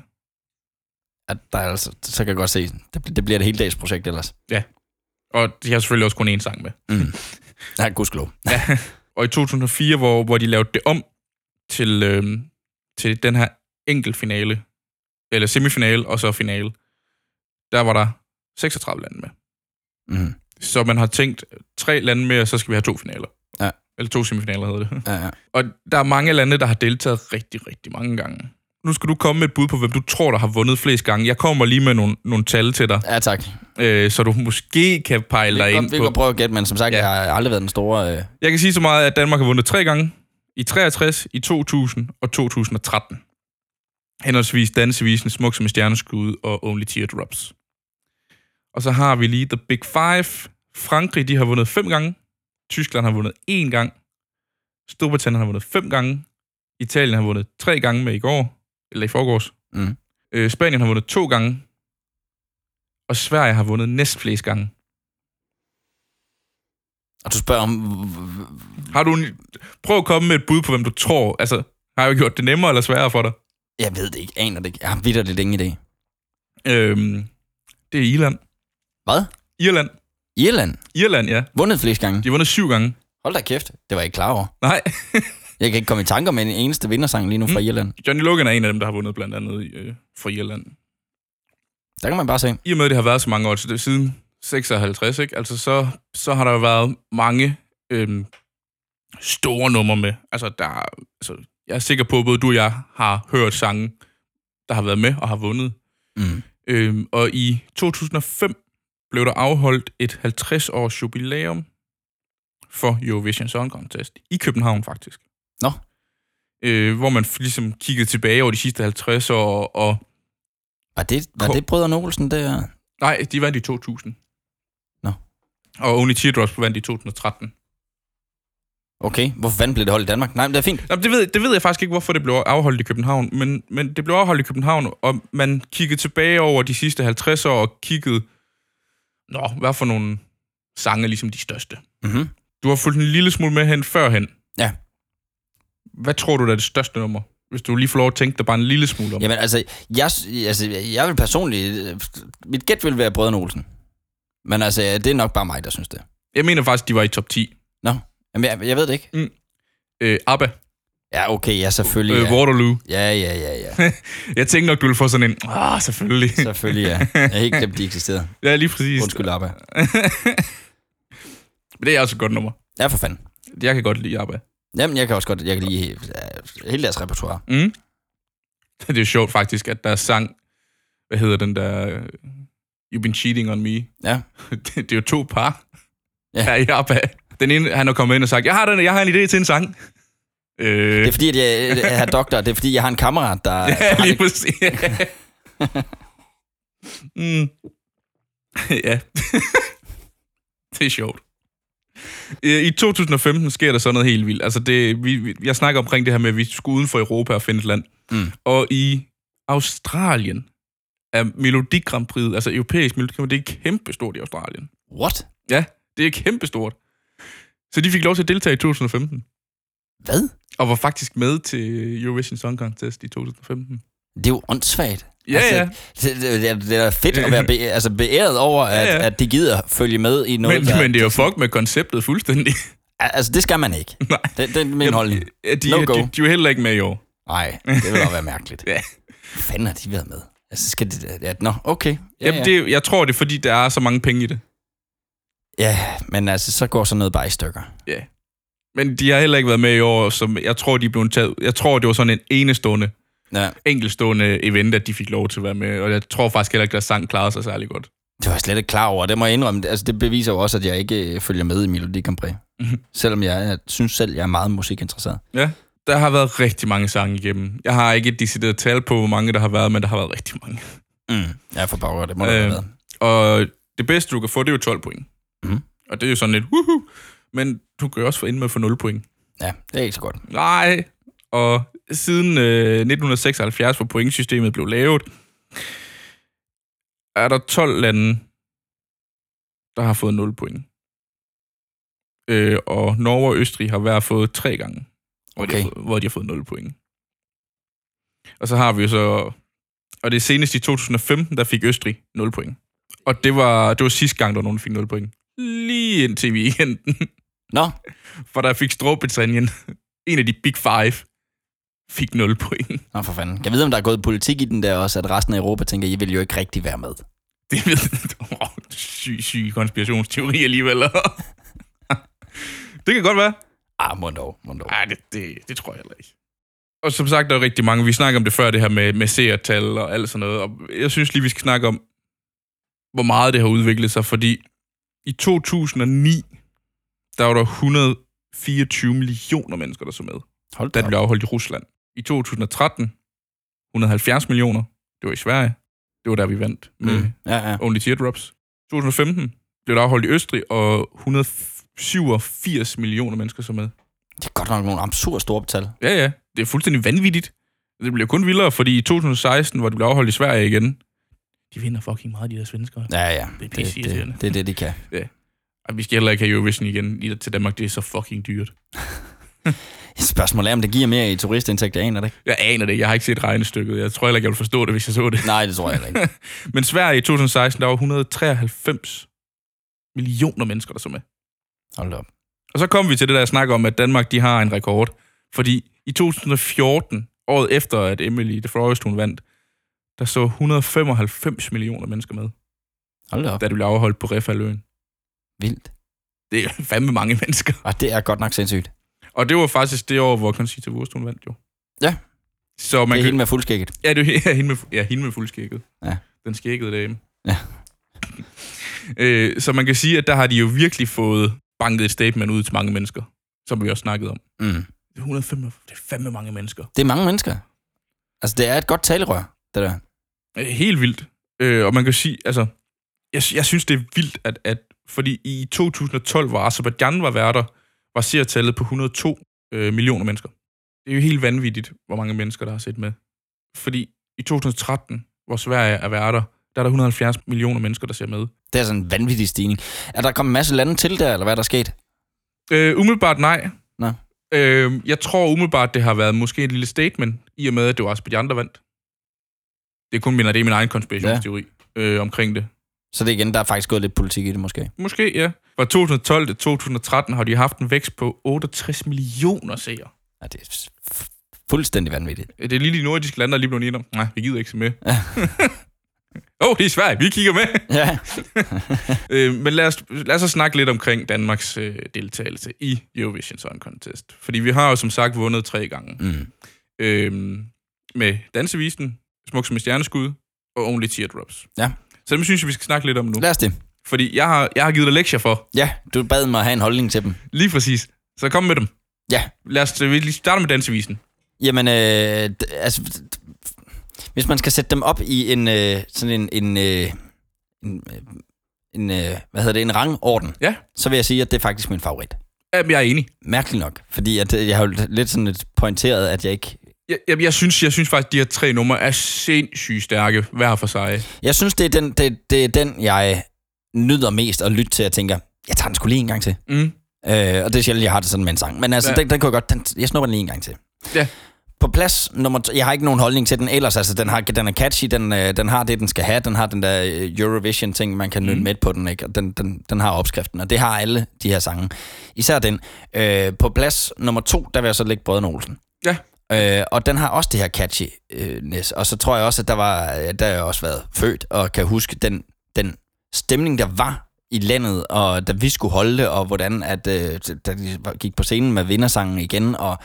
S2: Ja, der er altså, så kan jeg godt se, det, bl- det bliver et helt dags projekt ellers.
S3: Og de har selvfølgelig også kun én sang med.
S2: Mm. Ja, gudskelov.
S3: Og i 2004, hvor, hvor de lavede det om til, øh, til den her enkeltfinale, eller semifinale og så finale, der var der 36 lande med.
S2: Mm.
S3: Så man har tænkt tre lande mere, så skal vi have to finaler.
S2: Ja.
S3: Eller to semifinaler hedder det.
S2: Ja, ja.
S3: Og der er mange lande, der har deltaget rigtig, rigtig mange gange. Nu skal du komme med et bud på, hvem du tror, der har vundet flest gange. Jeg kommer lige med nogle, nogle tal til dig,
S2: ja tak.
S3: øh, så du måske kan pejle
S2: Vi
S3: dig
S2: kan, godt-
S3: ind
S2: vi
S3: på...
S2: kan godt prøve at gætte, men som sagt,
S3: Ja.
S2: ja. jeg har aldrig været den store... Øh,
S3: Jeg kan sige så meget, at Danmark har vundet tre gange. I 63, i 2000 og 2013. Henholdsvis Dansevisen, Smuk som et stjerneskud og Only Teardrops. Og så har vi lige The Big Five. Frankrig, de har vundet fem gange. Tyskland har vundet én gang. Storbritannien har vundet fem gange. Italien har vundet tre gange med i går, eller i forgårs.
S2: Mm.
S3: Øh, Spanien har vundet to gange. Og Sverige har vundet næstflest gange.
S2: og du spørger om... h- h-
S3: Har du en... Prøv at komme med et bud på, hvem du tror. Altså, har jeg gjort det nemmere eller sværere for dig?
S2: Jeg ved det ikke, aner det ikke. Jeg har vidderligt ingen idé.
S3: Øhm, det er Irland.
S2: Hvad?
S3: Irland.
S2: Irland?
S3: Irland, ja.
S2: Vundet flest gange?
S3: De har vundet syv gange.
S2: Hold da kæft, det var jeg ikke klar over.
S3: Nej,
S2: Jeg kan ikke komme i tanker om en eneste vindersang lige nu
S3: Mm.
S2: fra Irland.
S3: Johnny Logan er en af dem, der har vundet blandt andet øh, for Irland.
S2: Der kan man bare se.
S3: I og med, at det har været så mange år, så det er siden 56, ikke? Altså, så, så har der jo været mange øhm, store numre med. Altså, der, er- altså, jeg er sikker på, at både du og jeg har hørt sange, der har været med og har vundet.
S2: Mm.
S3: Øhm, og i 2005 blev der afholdt et 50-års jubilæum for Eurovision Song Contest i København faktisk.
S2: Nå.
S3: Øh, hvor man f- ligesom kiggede tilbage over de sidste 50 år, og
S2: Var det, var
S3: Ko-
S2: det Brødrene Olsen der?
S3: nej, de vandt i 2000.
S2: Nå.
S3: Og Only Teardrops vandt i 2013.
S2: Okay, hvorfor fanden blev det holdt i Danmark? Nej, men det er fint.
S3: Nå, men det, ved, det ved jeg faktisk ikke, hvorfor det blev afholdt i København, men, men det blev afholdt i København, og man kiggede tilbage over de sidste 50 år og kiggede, nå, hvad for nogle sange ligesom de største.
S2: Mm-hmm.
S3: Du har fulgt en lille smule med hen førhen.
S2: Ja.
S3: Hvad tror du, der er det største nummer? Hvis du lige får lov at tænke dig bare en lille smule om.
S2: Jamen altså, jeg, altså, jeg vil personligt... øh, Mit gæt vil være Brødrene Olsen. Men altså, ja, det er nok bare mig, der synes det.
S3: Jeg mener faktisk, de var i top 10.
S2: Nå, Jamen, jeg, jeg ved det ikke.
S3: Øh, ABBA,
S2: Ja, okay, ja, selvfølgelig.
S3: øh,
S2: Ja,
S3: Waterloo.
S2: ja, ja, ja. ja.
S3: Jeg tænkte nok, du ville få sådan en, ah, selvfølgelig.
S2: Selvfølgelig, ja. Jeg har helt glemt, de eksisterede.
S3: Ja, lige præcis.
S2: Undskyld, Abba.
S3: Men det er også et godt nummer.
S2: Ja, for fanden.
S3: Jeg kan godt lide ABBA.
S2: Jamen, jeg kan også godt... Jeg kan lide ja, hele deres repertoire.
S3: Mm. Det er jo sjovt faktisk, at der er sang, hvad hedder den der, øh, You've been cheating on me.
S2: Ja.
S3: Det, det er jo to par,
S2: Ja.
S3: ja. der er i ABBA. Den ene, han er kommet ind og sagt, jeg har, den, jeg har en idé til en sang. Øh,
S2: Det er fordi, at jeg, jeg er doktor. Det er fordi, jeg har en kammerat, der...
S3: ja, lige præcis. mm. ja. det er sjovt. Øh, I 2015 sker der så noget helt vildt. Altså det, vi, vi- jeg snakker omkring det her med, at vi skulle uden for Europa og finde et land.
S2: Mm.
S3: Og i Australien er Melodi Grand Prix, altså europæisk Melodi Grand Prix, det er kæmpestort i Australien.
S2: What?
S3: Ja, det er kæmpestort. Så de fik lov til at deltage i 2015,
S2: Hvad?
S3: og var faktisk med til Eurovision Song Contest i 2015.
S2: Det er jo åndssvagt.
S3: Ja,
S2: altså,
S3: ja.
S2: Det, det, det, er- det er da fedt at være be, altså beæret over, at,
S3: Ja, ja.
S2: at de gider følge med i noget.
S3: Men,
S2: der,
S3: men det er jo fuck med konceptet fuldstændig.
S2: Al- Altså, det skal man ikke.
S3: Nej.
S2: Det, det er min holdning.
S3: Ja, de,
S2: No
S3: no
S2: go.
S3: de, de, er jo heller ikke med i år.
S2: Nej, det vil da være mærkeligt.
S3: Ja.
S2: Hvad fanden har de været med? Altså, skal det... Ja, nå, okay. Ja,
S3: Ja, Jamen,
S2: ja.
S3: Det, jeg tror, det er, fordi der er så mange penge i det.
S2: ja, men altså, så går sådan noget bare i stykker.
S3: Men de har heller ikke været med i år, som jeg tror, de er blevet taget. Jeg tror, det var sådan en enestående,
S2: Ja,
S3: enkeltstående event, at de fik lov til at være med. Og jeg tror faktisk heller ikke, at deres sang klarede sig særlig godt.
S2: det var jeg slet ikke klar over. Det må jeg indrømme. Altså, det beviser jo også, at jeg ikke øh, følger med i Melodi Grand Prix.
S3: Mhm.
S2: Selvom jeg, jeg synes selv, jeg er meget musikinteresseret.
S3: Der har været rigtig mange sange igennem. Jeg har ikke et decideret tal på, hvor mange der har været, men der har været rigtig mange.
S2: Mm. Jeg er for bagger, det må øh. det
S3: Øh.
S2: have været.
S3: Og det bedste, du kan få, det er jo 12 point.
S2: Mhm.
S3: Og det er jo sådan lidt, woohoo. Men du kan jo også få ind med at få 0 point.
S2: Ja, det er ikke så godt.
S3: Nej. Og siden øh, 1976, hvor pointsystemet blev lavet, er der 12 lande, der har fået 0 point. Øh, og Norge og Østrig har hver fået tre gange, hvor, de har,
S2: Okay.
S3: fået- hvor de har fået 0 point. Og så har vi jo så... Og det er senest i 2015, der fik Østrig 0 point. Og det var, det var sidste gang, der var nogen, der fik 0 point. Lige indtil weekenden
S2: Nå,
S3: for der fik Storbritannien, en af de big five, fik 0 point.
S2: Nå for fanden. Jeg ved, om der er gået politik i den der også, at resten af Europa tænker, I vil jo ikke rigtig være med.
S3: Det ved oh, syg, syg konspirationsteori alligevel. det kan godt være.
S2: Ah, må dog, må dog.
S3: Nej, det, det, det tror jeg heller ikke. Og som sagt, der er rigtig mange. Vi snakker om det før, det her med, med seertal og alt sådan noget. Og jeg synes lige, vi skal snakke om, hvor meget det har udviklet sig, fordi i 2009, der var der 124 millioner mennesker, der så med.
S2: Hold da
S3: den
S2: op.
S3: blev afholdt i Rusland. I 2013, 170 millioner. Det var i Sverige. Det var der, vi vandt med mm.
S2: Mm. Ja, ja.
S3: Only Teardrops. 2015 blev der afholdt i Østrig, og 187 millioner mennesker så med.
S2: Det er godt nok nogle absurd store tal.
S3: Ja, ja. Det er fuldstændig vanvittigt. Det bliver kun vildere, fordi i 2016, hvor det blev afholdt i Sverige igen, de vinder fucking meget, de der svenskere.
S2: Ja, ja.
S3: Det er
S2: det,
S3: pisse irriterende.
S2: det, det, er det, de kan.
S3: Og vi skal heller ikke have Eurovision igen lige til Danmark. Det er så fucking dyrt.
S2: Spørgsmålet er, om det giver mere i turistindtægter, jeg aner det ikke.
S3: Jeg aner det. ikke. Jeg har ikke set regnestykket. Jeg tror heller ikke, jeg vil forstå det, hvis jeg så det.
S2: Nej, det tror jeg heller ikke.
S3: Men Sverige i 2016, der var 193 millioner mennesker, der så med.
S2: Hold da op.
S3: Og så kom vi til det, der jeg snakker om, at Danmark de har en rekord. Fordi i 2014, året efter, at Emily de Forest, hun vandt, der så 195 millioner mennesker med,
S2: Hold da op.
S3: da det blev afholdt på Refaløen.
S2: Vildt.
S3: Det er fandme mange mennesker.
S2: Og det er godt nok sindssygt.
S3: Og det var faktisk det år, hvor Conchita Wurst, hun vandt jo.
S2: Ja.
S3: Så
S2: Man det
S3: man
S2: er helt
S3: kan...
S2: med fuldskægget.
S3: Ja, det er ja, hende med, ja, hende med fuldskægget.
S2: Ja.
S3: Den skæggede dame.
S2: Ja.
S3: øh, så man kan sige, at der har de jo virkelig fået banket et statement ud til mange mennesker, som vi også snakkede om.
S2: Mm.
S3: 105, det er fandme mange mennesker.
S2: Det er mange mennesker. Altså, det er et godt talerør, det der.
S3: Øh, helt vildt. Øh, og man kan sige, altså, jeg, jeg synes, det er vildt, at, at fordi i 2012, hvor Azerbaijan var værter, var seertallet på 102 øh, millioner mennesker. Det er jo helt vanvittigt, hvor mange mennesker, der har set med. Fordi i 2013, hvor Sverige er værter, der er der 170 millioner mennesker, der ser med.
S2: Det er sådan en vanvittig stigning. Er der kommet en masse lande til der, eller hvad er der sket?
S3: Øh, umiddelbart nej.
S2: Nå.
S3: Øh, jeg tror umiddelbart, det har været måske et lille statement, i og med, at det var Aspidian, der vandt. Det er kun min, det er min egen konspirationsteori ja. øh, omkring det.
S2: Så det er igen, der er faktisk gået lidt politik i det måske.
S3: Måske, ja. Fra 2012 til 2013 har de haft en vækst på 68 millioner seere. Øh,
S2: Ja, det er s- f- fuldstændig vanvittigt.
S3: Det er lige de nordiske lande, der er lige blevet enige om. Nej, vi gider ikke se med. Åh, oh, det er svært. Vi kigger med.
S2: Ja.
S3: Øh, men lad os, lad os så snakke lidt omkring Danmarks øh, deltagelse i Eurovision Song Contest. Fordi vi har jo som sagt vundet tre gange.
S2: Mm.
S3: Øh, med Dansevisen, Smuk som et stjerneskud og Only Teardrops.
S2: Ja.
S3: Så dem synes jeg, vi skal snakke lidt om nu.
S2: Lad os det.
S3: Fordi jeg har, jeg har givet dig lektier for,
S2: Ja, du bad mig at have en holdning til dem.
S3: lige præcis. Så kom med dem.
S2: Ja.
S3: Lad os øh, vi lige starte med Dansevisen.
S2: Jamen, øh, d- altså, d- hvis man skal sætte dem op i en øh, sådan en en, øh, en, øh, en øh, hvad hedder det, en rangorden,
S3: Ja.
S2: så vil jeg sige, at det er faktisk min favorit.
S3: Jamen, jeg er enig.
S2: Mærkeligt nok, fordi at, øh, jeg har jo lidt sådan lidt pointeret, at jeg ikke...
S3: Jeg, jeg, jeg, synes, jeg synes faktisk, at de her tre numre er sindssygt stærke, hver for sig.
S2: Jeg synes, det er den, det, det er den jeg nyder mest at lytte til. Jeg tænker, jeg tager den sgu lige en gang til.
S3: Mm.
S2: Øh, og det er sjældent, jeg har det sådan med en sang. Men altså,
S3: Ja.
S2: ja. den, den kunne jeg godt... Den, jeg snupper den lige en gang til.
S3: Ja.
S2: På plads nummer... t- Jeg har ikke nogen holdning til den ellers. Altså, den, har, den er catchy, den, øh, den har det, den skal have. Den har den der øh, Eurovision-ting, man kan nynne
S3: Mm.
S2: med på den, ikke? Og den, den, den har opskriften, og det har alle de her sange. Især den. Øh, på plads nummer to, der vil jeg så lægge Brøden Olsen.
S3: Ja.
S2: Øh, og den har også det her catchiness. Og så tror jeg også, at der, var, der har jeg også været født, og kan huske den, den stemning, der var i landet, og da vi skulle holde det, og hvordan at, øh, da de var- gik på scenen med vindersangen igen, og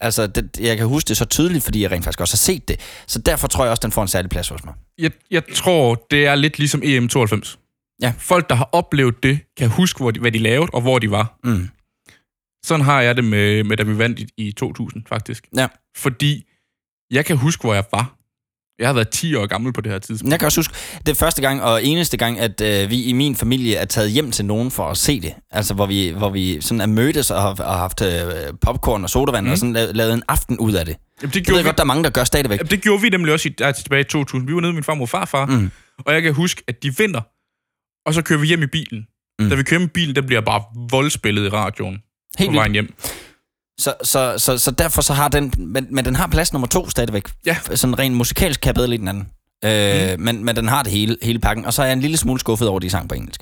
S2: altså, det, jeg kan huske det så tydeligt, fordi jeg rent faktisk også har set det. Så derfor tror jeg også, den får en særlig plads hos mig.
S3: Jeg, jeg tror, det er lidt ligesom EM92.
S2: Ja.
S3: Folk, der har oplevet det, kan huske, hvor de, hvad de lavede og hvor de var.
S2: Mm.
S3: Sådan har jeg det med, med da vi vandt i, i 2000, faktisk.
S2: Ja.
S3: Fordi jeg kan huske, hvor jeg var. Jeg har været 10 år gammel på det her tidspunkt.
S2: Jeg kan også huske, det er første gang og eneste gang, at øh, vi i min familie er taget hjem til nogen for at se det. Altså, hvor vi, hvor vi sådan er mødtes og har, har haft øh, popcorn og sodavand mm. og sådan lavet, lavet en aften ud af det.
S3: Jamen, Mhm. det,
S2: Jeg
S3: gjorde
S2: ved
S3: vi,
S2: godt, der er mange, der gør stadigvæk.
S3: jamen, det gjorde vi nemlig også i, der, tilbage i 2000. Vi var nede med min farmor og farfar,
S2: Mm.
S3: og jeg kan huske, at de vinder, og så kører vi hjem i bilen.
S2: Mm.
S3: Mm. Da vi kører hjem i bilen, der bliver bare voldspillet i radioen
S2: Helt
S3: på
S2: vildt.
S3: vejen hjem.
S2: Så, så, så, så derfor så har den... Men, men den har plads nummer to stadigvæk.
S3: Ja.
S2: Sådan rent musikalsk kan jeg bedre lide den anden.
S3: Mhm.
S2: Øh, mm. men, men den har det hele, hele pakken. Og så er jeg en lille smule skuffet over, at de sang på engelsk.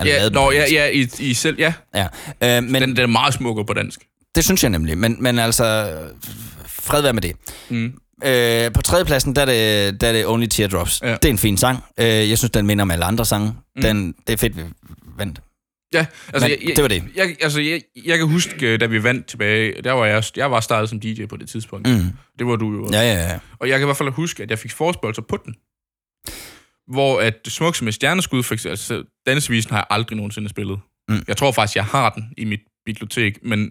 S2: Eller
S3: Ja,
S2: lavede dem
S3: nå,
S2: på
S3: ja,
S2: engelsk.
S3: ja, i, i selv, ja.
S2: ja. Øh, men
S3: Men, den, den er meget smukkere på dansk.
S2: det synes jeg nemlig. Men, men altså... Fred være med det.
S3: Mm.
S2: Øh, på tredjepladsen, der er, det, der er det Only Teardrops.
S3: Ja.
S2: Ja. Det er en fin sang. Øh, jeg synes, den minder om alle andre sange.
S3: Mm.
S2: Mm. Den, det er fedt, vi vandt.
S3: Ja, altså,
S2: Men
S3: jeg, jeg,
S2: det var det.
S3: Jeg, altså, jeg, jeg kan huske, øh, da vi vandt tilbage, der var jeg, jeg var startet som DJ på det tidspunkt.
S2: Mm.
S3: Det var du jo.
S2: Ja, ja, ja.
S3: Og jeg kan i hvert fald huske, at jeg fik forespørgelser på den. Hvor at Smuk som et stjerneskud, for eksempel, altså, dansevisen har jeg aldrig nogensinde spillet.
S2: Mm.
S3: Jeg tror faktisk, jeg har den i mit bibliotek, men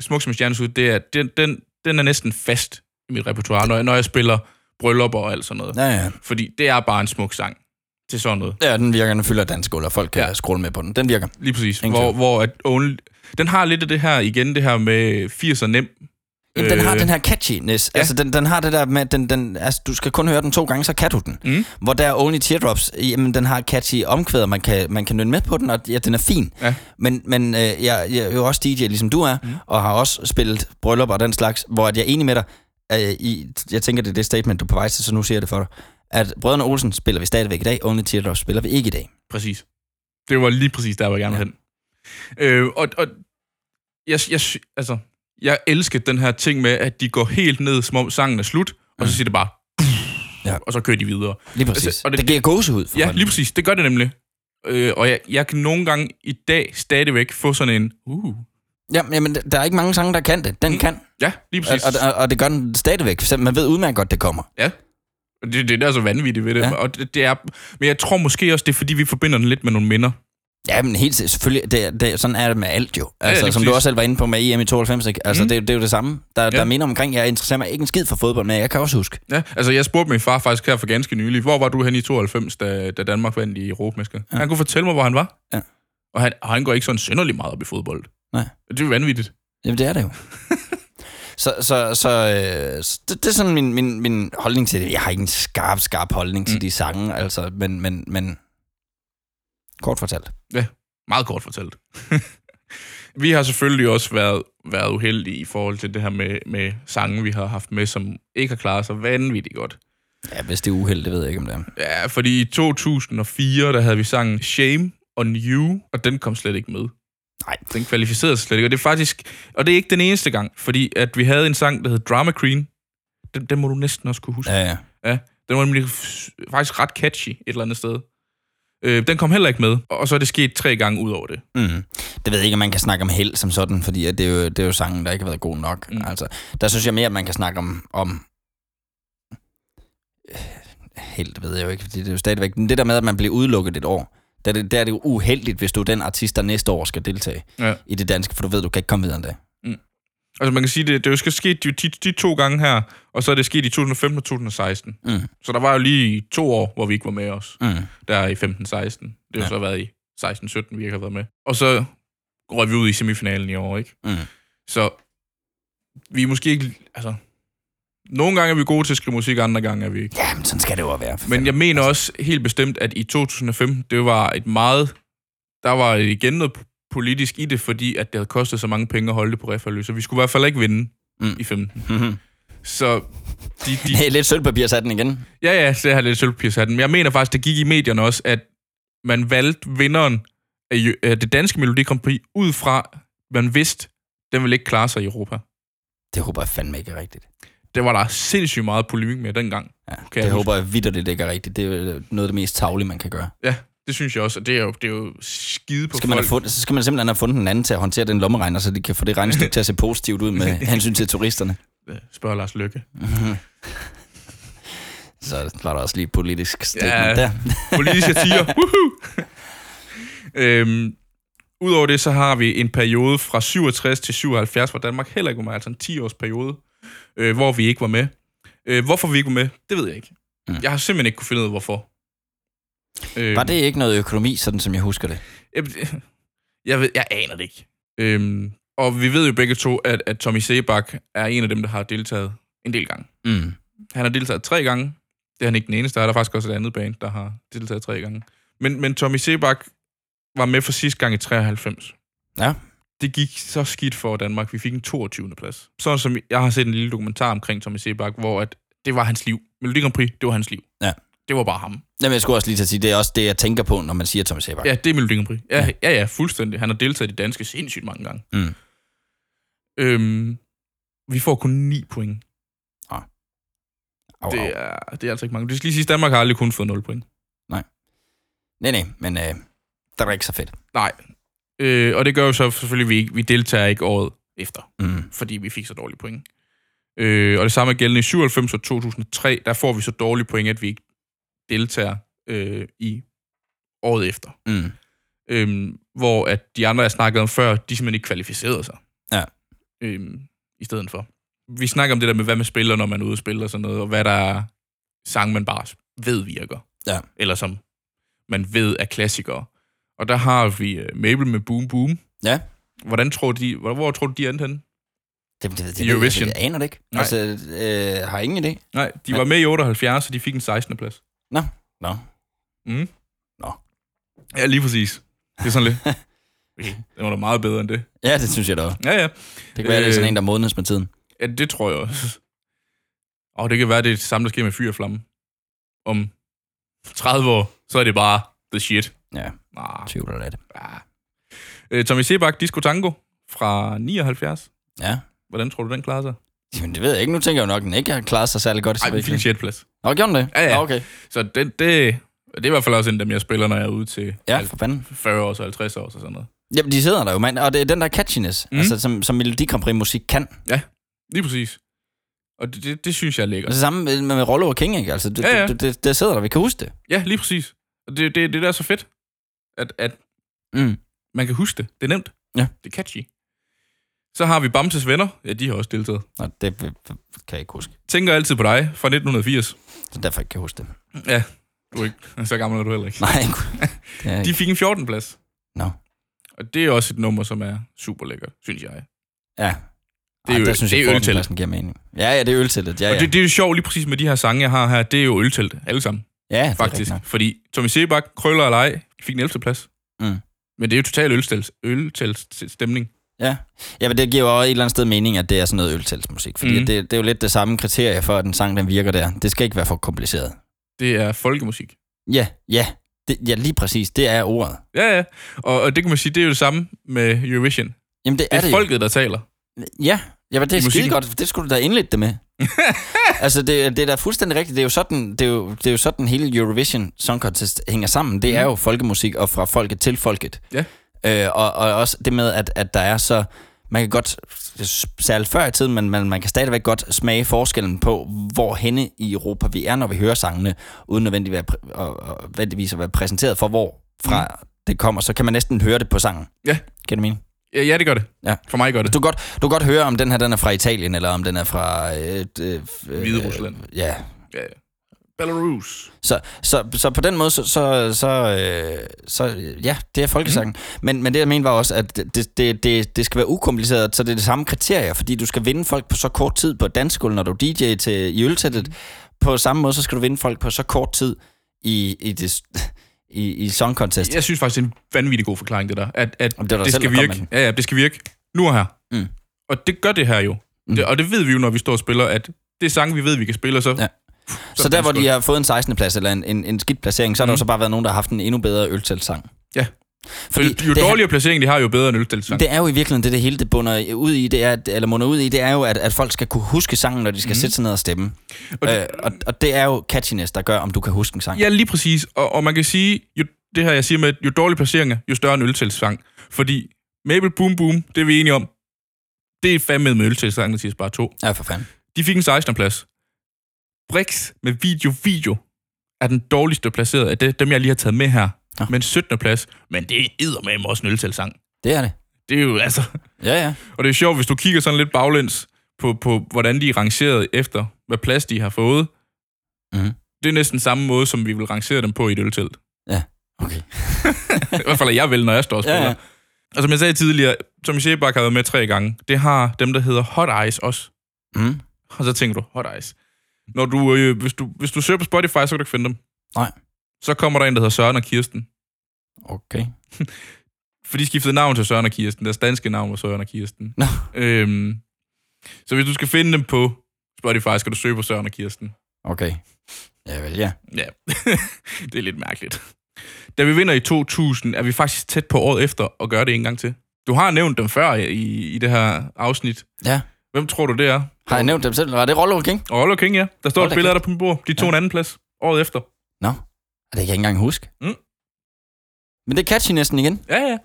S3: Smuk som et stjerneskud, det er, den, den, den er næsten fast i mit repertoire, når jeg, når jeg spiller bryllupper og alt sådan noget. Ja.
S2: ja, ja.
S3: Fordi det er bare en smuk sang til sådan noget.
S2: Ja, den virker, den fylder dansk gulv, og folk kan
S3: Ja.
S2: ja. scrolle med på den. Den virker.
S3: Lige præcis.
S2: Ingen
S3: Hvor,
S2: tvivl.
S3: hvor at only, den har lidt af det her, igen det her med 80'er nem.
S2: Jamen, den har
S3: Øh,
S2: den her catchiness.
S3: ja.
S2: Ja. Altså, den, den har det der med, at den, den, altså, du skal kun høre den to gange, så kan du den.
S3: Mm.
S2: Hvor der er Only Teardrops, jamen, den har catchy omkvæder, man kan, man kan nynne med på den, og ja, den er fin.
S3: Ja.
S2: Men, men øh, jeg, jeg er jo også DJ, ligesom du er, mm. og har også spillet bryllup og den slags, hvor at jeg er enig med dig. Øh, i, jeg tænker, det er det statement, du er på vej til, så nu siger jeg det for dig. At Brødrene Olsen spiller vi stadigvæk i dag, Only Teardrops spiller vi ikke i dag.
S3: Præcis. Det var lige præcis der, hvor jeg gerne ville hen. Øh, og, og jeg, jeg, sy- altså, jeg elsker den her ting med, at de går helt ned, som om sangen er slut, og så siger det bare...
S2: Ja.
S3: Og så kører de videre.
S2: Lige præcis.
S3: Altså,
S2: Altså,
S3: og
S2: og
S3: det-
S2: det, det giver gåsehud for
S3: Ja,
S2: mig.
S3: lige præcis. Det gør det nemlig. Øh, og jeg, jeg kan nogle gange i dag stadigvæk få sådan en... Uh.
S2: Jamen, jamen, der er ikke mange sange, der kan det. Den kan.
S3: Ja, lige
S2: Og,
S3: Mm. præcis.
S2: og, og det gør den stadigvæk, selvom man ved udmærket godt, det kommer.
S3: Ja. Og Det, det er det, der er så vanvittigt ved det. Ja.
S2: Ja.
S3: Og det, det er, men jeg tror måske også, det er, fordi vi forbinder den lidt med nogle minder.
S2: Ja, men helt sikkert. selvfølgelig. Det, er- det, er- sådan er det med alt jo. Altså,
S3: lige
S2: som du
S3: præcis.
S2: også selv var inde på med EM i 92, ikke? Altså,
S3: Mm.
S2: mm. det, er jo- det er jo det samme. Der, ja.
S3: Ja.
S2: der minder omkring, jeg interesserer mig ikke en skid for fodbold, men jeg kan også huske.
S3: Ja, altså jeg spurgte min far faktisk her for ganske nylig, hvor var du hen i 92, da, da Danmark vandt i Europamester? Ja. Han kunne fortælle mig, hvor han var.
S2: Ja.
S3: Og han, og han går ikke sådan synderlig meget op i fodbold.
S2: Nej.
S3: Det er jo vanvittigt.
S2: Jamen, det er det jo. Så, så, så, øh, så det, det er sådan min, min, min holdning til det. Jeg har ikke en skarp, skarp holdning til
S3: Mm.
S2: mm. de sange, altså, men, men, men kort fortalt.
S3: Meget kort fortalt. vi har selvfølgelig også været, været uheldige i forhold til det her med, med sange, vi har haft med, som ikke har klaret sig vanvittigt godt.
S2: Ja, hvis det er uheld, det ved jeg ikke, om det er.
S3: Ja, fordi i 2004, der havde vi sangen Shame on You, og den kom slet ikke med.
S2: Nej.
S3: Den kvalificerede sig slet ikke, og det er faktisk... Og det er ikke den eneste gang, fordi at vi havde en sang, der hed Drama Queen. Den, den må du næsten også kunne huske.
S2: Ja, ja.
S3: Den var nemlig f- faktisk ret catchy et eller andet sted. Øh, den kom heller ikke med, og så er det sket tre gange ud over det.
S2: Mm. Det ved jeg ikke, om man kan snakke om held som sådan, fordi at det, er jo, det er jo sangen, der ikke har været god nok.
S3: Mm.
S2: Mm. Altså, der synes jeg mere, at man kan snakke om... om Øh, held ved jeg jo ikke, fordi det er jo stadigvæk... Men det der med, at man bliver udelukket et år, der er det, der er det jo uheldigt, hvis du er den artist, der næste år skal deltage
S3: Ja.
S2: i det danske, for du ved, du kan ikke komme videre end det.
S3: Altså man kan sige, det, det er jo skal sket de, de, de to gange her, og så er det sket i 2015 og 2016.
S2: Mm.
S3: Så der var jo lige to år, hvor vi ikke var med os.
S2: Mm.
S3: Der i 15-16. Det har ja.
S2: Ja.
S3: så været i 16-17, vi ikke har været med. Og så røg vi ud i semifinalen i år, ikke?
S2: Mm.
S3: Så vi er måske ikke... Altså, nogle gange er vi gode til at skrive musik, andre gange er vi ikke.
S2: Ja, altså- men sådan skal det jo også være. for
S3: Men
S2: fanden.
S3: jeg mener også helt bestemt, at i 2015, det var et meget... Der var igen noget politisk i det, fordi at det havde kostet så mange penge at holde det på referløs, så vi skulle i hvert fald ikke vinde mm.
S2: Mm.
S3: i 15.
S2: Mhm.
S3: Så de, de,
S2: Hey, lidt sølvpapir sat den igen.
S3: ja, ja, så har jeg lidt sølvpirshatten, men jeg mener faktisk, det gik i medierne også, at man valgte vinderen af, jø- af det danske Melodi Grand Prix ud fra, man vidste, den ville ikke klare sig i Europa.
S2: Det håber jeg fandme ikke er rigtigt.
S3: Det var der sindssygt meget polemik med dengang.
S2: Ja,
S3: jeg
S2: det jeg
S3: huske.
S2: håber jeg vidderligt ikke er rigtigt. Det er jo noget af det mest tavlige, man kan gøre.
S3: Ja, det synes jeg også, og det er jo, det er jo skide på
S2: skal man
S3: folk.
S2: have fundet, så skal man simpelthen have fundet en anden til at håndtere den lommeregner, så de kan få det regnestykke til at se positivt ud med hensyn til turisterne.
S3: øh, spørger Lars Lykke.
S2: Så var der også lige et politisk
S3: Ja.
S2: statement ja. der.
S3: Politisk satire. Woohoo! øhm, Udover det, så har vi en periode fra 67 til 77, hvor Danmark heller ikke var med, altså en 10-års periode, øh, hvor vi ikke var med. Øh, hvorfor vi ikke var med, det ved jeg ikke. Mm.
S2: Mm.
S3: Jeg har simpelthen ikke kunne finde ud af, hvorfor. Øh,
S2: Var det ikke noget økonomi, sådan som jeg husker det?
S3: Jeg, jeg, ved, jeg aner det ikke. Øhm, og vi ved jo begge to, at, at Tommy Sebak er en af dem, der har deltaget en del gange.
S2: Mm.
S3: Han har deltaget tre gange. Det er han ikke den eneste. Der er der faktisk også et andet band, der har deltaget tre gange. Men, men Tommy Sebak var med for sidste gang i 93.
S2: Ja.
S3: Det gik så skidt for Danmark. Vi fik en 22. plads. Sådan som jeg har set en lille dokumentar omkring Tommy Sebak, hvor at det var hans liv. Melodi Grand Prix, det var hans liv.
S2: Ja.
S3: Det var bare ham.
S2: Jamen, jeg skulle også lige til at sige, det er også det, jeg tænker på, når man siger Thomas Sebak.
S3: Ja, det er Melodi Grand Prix. Ja, ja, ja, ja fuldstændig. Han har deltaget i det danske sindssygt mange gange.
S2: Mm.
S3: Øhm, vi får kun 9 point.
S2: Au, au.
S3: Det, er, det er altså ikke mange. Det skal lige sige, at Danmark har aldrig kun fået 0 point.
S2: Nej, nej, men øh, der var ikke så fedt.
S3: Nej. Øh, og det gør jo så selvfølgelig, at vi, ikke, vi deltager ikke året efter,
S2: Mm.
S3: fordi vi fik så dårlige point. Øh, og det samme er gældende i 97 og 2003, der får vi så dårlige point, at vi ikke deltager øh, i året efter.
S2: Mm.
S3: Øhm, hvor at de andre, jeg snakkede om før, de simpelthen ikke kvalificerede sig.
S2: Ja.
S3: Øhm, I stedet for. Vi snakker om det der med, hvad man spiller, når man er ude og spille og sådan noget, og hvad der er sang, man bare ved virker.
S2: Ja.
S3: Eller som man ved er klassikere. Og der har vi øh, Mabel med Boom Boom.
S2: Ja.
S3: Hvordan tror de, hvor, hvor tror du, de endte henne?
S2: Det, det, det, det,
S3: Eurovision.
S2: Jeg, jeg aner det ikke.
S3: Nej.
S2: Altså, øh, har ingen idé.
S3: Nej, de
S2: Ja.
S3: var med i 78, så de fik en 16. plads. Mm.
S2: Nå.
S3: Ja, lige præcis. Det er sådan lidt... Okay, det var da meget bedre end det.
S2: Ja, det synes jeg da også.
S3: Ja, ja.
S2: Det kan være, det er
S3: Øh.
S2: sådan en, der modnes med tiden.
S3: Ja, det tror jeg også. Og det kan være, det er det samme, der sker med Fyr og Flamme. Om 30 år, så er det bare the shit.
S2: Ja,
S3: Ah,
S2: tvivler lidt.
S3: ah. Øh, Tommy Sebak, Disco Tango fra 79.
S2: Ja.
S3: Hvordan tror du, den klarer sig?
S2: Jamen, det ved jeg ikke. Nu tænker jeg jo nok, at den ikke har klaret sig særlig godt i
S3: Ej, den fik en
S2: Slovenien.
S3: sjette plads.
S2: Nå, gjorde den det?
S3: Ja, ja.
S2: Nå, okay.
S3: Så det, det, det er i hvert fald også en af dem, jeg spiller, når jeg er ude til
S2: Ja,
S3: halv-
S2: for fanden.
S3: 40 år og 50 år og sådan noget.
S2: Jamen, de sidder der jo, mand. Og det er den der catchiness,
S3: Mm.
S2: mm. altså, som, som Melodi Grand Prix musik kan.
S3: Lige præcis. Og det, det, det synes jeg er
S2: Og
S3: lækkert.
S2: det samme med, med Rollo og King, ikke? Altså, det,
S3: Ja, ja.
S2: ja, ja. Det, det, det, sidder der, vi kan huske det.
S3: Ja, lige præcis. Og det, det, det der er så fedt, at, at
S2: Mm.
S3: man kan huske det. Det er nemt.
S2: Ja.
S3: Det er catchy. Så har vi Bamses venner. Ja, de har også deltaget.
S2: Nå, det, det kan jeg ikke huske.
S3: Tænker altid på dig fra 1980.
S2: Så derfor ikke kan jeg huske det.
S3: Ja, du er ikke. Så gammel er du heller ikke.
S2: Nej, det er
S3: De
S2: ikke.
S3: fik en 14. plads.
S2: Nå.
S3: Og det er også et nummer, som er super lækkert, synes jeg.
S2: Ja.
S3: Det er
S2: Ej,
S3: jo,
S2: der synes
S3: det
S2: jeg,
S3: er øltelt.
S2: forholdspladsen giver mening. Ja, ja, det er ølteltet. Ja, ja.
S3: Og det, det er jo sjovt lige præcis med de her sange, jeg har her. Det er jo øltelt, alle sammen,
S2: ja, det er rigtigt
S3: faktisk.
S2: nok.
S3: Fordi Tommy Sebak, Krøller og Leg fik en 11. plads.
S2: Mm.
S3: Men det er jo total øltelt, øltelt stemning.
S2: Ja. ja, men det giver jo også et eller andet sted mening, at det er sådan noget ølteltmusik. Fordi
S3: Mhm.
S2: mm. det, det er jo lidt det samme kriterie for, at en sang den virker der. Det skal ikke være for kompliceret.
S3: Det er folkemusik.
S2: Ja, ja. Det, ja, lige præcis. Det er ordet.
S3: Ja, ja. Og, og det kan man sige, det er jo det samme med Eurovision.
S2: Jamen, det
S3: Det
S2: er,
S3: er, det
S2: det
S3: er
S2: jo.
S3: folket, der taler.
S2: Ja, ja men det
S3: I
S2: er skide
S3: musikken.
S2: godt. Det skulle du da indlægge det med. altså, det, det er da fuldstændig rigtigt. Det er jo sådan, det er jo, det er jo sådan hele Eurovision Song Contest hænger sammen. Det er
S3: Mm.
S2: jo folkemusik, og fra folket til folket.
S3: Ja.
S2: Øh, og, og også det med, at, at der er så... Man kan godt, særligt før i tiden, men man, man kan stadigvæk godt smage forskellen på, hvor henne i Europa vi er, når vi hører sangene, uden nødvendigvis at, være præ- og, og, nødvendigvis at være præsenteret for, hvor fra mm. det kommer. Så kan man næsten høre det på sangen.
S3: Ja.
S2: Kan du mene?
S3: Ja, ja, det gør det.
S2: Ja.
S3: For mig gør det.
S2: Du kan, godt, du kan godt høre, om den her den er fra Italien, eller om den er fra... Øh, øh, øh,
S3: Hviderusland.
S2: Ja.
S3: Ja, ja. Belarus.
S2: Så, så, så på den måde, så... så, så, øh, så øh, ja, det er folkesangen. Mm. Men, men det, jeg mener, var også, at det, det, det, det skal være ukompliceret, så det er det samme kriterier, fordi du skal vinde folk på så kort tid på danskgulv, når du er DJ til, i øltættet. Mm. På samme måde, så skal du vinde folk på så kort tid i, i, det, i, i song contest.
S3: Jeg synes faktisk, det er en vanvittig god forklaring, det der. At, at
S2: Jamen, det var dig
S3: det
S2: selv,
S3: skal
S2: der kom
S3: virke.
S2: med
S3: Ja, ja, det skal virke nu og her.
S2: Mm.
S3: Og det gør det her jo.
S2: Mm.
S3: Det, og det ved vi jo, når vi står og spiller, at det er sange, vi ved, vi kan spille, og så...
S2: Ja. Så, så der, hvor de har fået en 16. plads eller en, en, en skidt placering, så har mm. der
S3: Mhm.
S2: jo så bare været nogen, der har haft en endnu bedre øltæltsang.
S3: Ja.
S2: Fordi
S3: Fordi jo
S2: det,
S3: dårligere placering, de har, jo bedre en øldeltang.
S2: det er jo i virkeligheden det, det hele det bunder ud i, det er, at- eller munder ud i, det er jo, at, at folk skal kunne huske sangen, når de skal mm. sætte sig ned og stemme. Og, øh, og, og det er jo catchiness, der gør, om du kan huske en sang.
S3: Ja, lige præcis. Og, og man kan sige, jo, det her jeg siger med, at jo dårligere placeringer, jo større en øltælsang. Fordi Mabel Boom Boom, det er vi enige om, det er fandme med øltælsang, der siger bare to.
S2: Ja, for fanden.
S3: De fik en 16. plads. Brix med Video Video er den dårligste placeret af det, dem, jeg lige har taget med her.
S2: Nå.
S3: Ja. Men 17. plads, men det er med også en øltælsang.
S2: Det er det.
S3: Det er jo altså...
S2: Ja, ja.
S3: Og det er sjovt, hvis du kigger sådan lidt baglæns på, på hvordan de er rangeret efter, hvad plads de har fået.
S2: Mhm.
S3: Det er næsten samme måde, som vi vil rangere dem på i et øltelt.
S2: Okay.
S3: I hvert fald er jeg vel, når jeg står og spiller.
S2: Ja,
S3: Ja,
S2: ja.
S3: ja. Og som jeg sagde tidligere, Tommy Sebak har været med tre gange. Det har dem, der hedder Hot Ice også.
S2: Mm.
S3: Og så tænker du, Hot Ice. Når du, øh, hvis, du, hvis du søger på Spotify, så kan du ikke finde dem.
S2: Nej.
S3: Så kommer der en, der hedder Søren og Kirsten.
S2: Okay.
S3: For de skiftede navn til Søren og Kirsten. Deres danske navn var Søren og Kirsten.
S2: Nå.
S3: Øhm, så hvis du skal finde dem på Spotify, skal du søge på Søren og Kirsten.
S2: Okay. Ja, vel, ja.
S3: Ja, det er lidt mærkeligt. Da vi vinder i 2000, er vi faktisk tæt på året efter at gøre det en gang til. Du har nævnt dem før i, i det her afsnit.
S2: Ja.
S3: Hvem tror du, det er?
S2: Har jeg nævnt dem selv? Var det Rollo King?
S3: Og Rollo King, ja. Der står
S2: Hold
S3: et
S2: da
S3: billede af dig på min bord. De tog
S2: Ja.
S3: en anden plads året efter.
S2: Nå. Det kan jeg ikke engang huske.
S3: Mm.
S2: Men det er catchinessen igen.
S3: Ja, ja.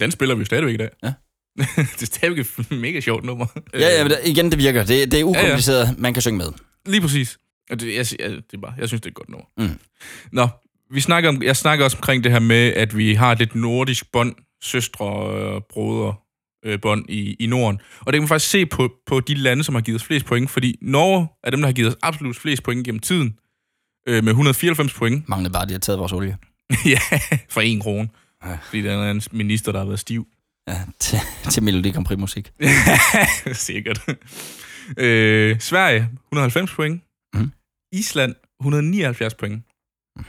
S3: Den spiller vi jo stadigvæk i dag.
S2: Ja.
S3: det er stadigvæk et mega sjovt nummer. Øh,
S2: Ja, ja, men der- igen, det virker. Det, det er ukompliceret. Øh. Ja, ja. Man kan synge med.
S3: Lige præcis. Og det, jeg, si- ja, det er bare, jeg synes, det er et godt nummer.
S2: Mm.
S3: Nå, vi snakker om, jeg snakker også omkring det her med, at vi har lidt nordisk bånd, søstre og brødre øh, bånd i, i Norden. Og det kan man faktisk se på, på de lande, som har givet os flest point, fordi Norge er dem, der har givet os absolut flest point gennem tiden, øh, med 194 point.
S2: Manglede bare, at de har taget vores olie.
S3: ja, for en krone.
S2: Ja.
S3: Ja. Fordi der er en minister, der har været stiv.
S2: Ja, til, til Melodi Grand Prix musik.
S3: Sikkert. Øh, Sverige, 190 point.
S2: Mhm. Mhm.
S3: Mm. Island, 179 point. Mm.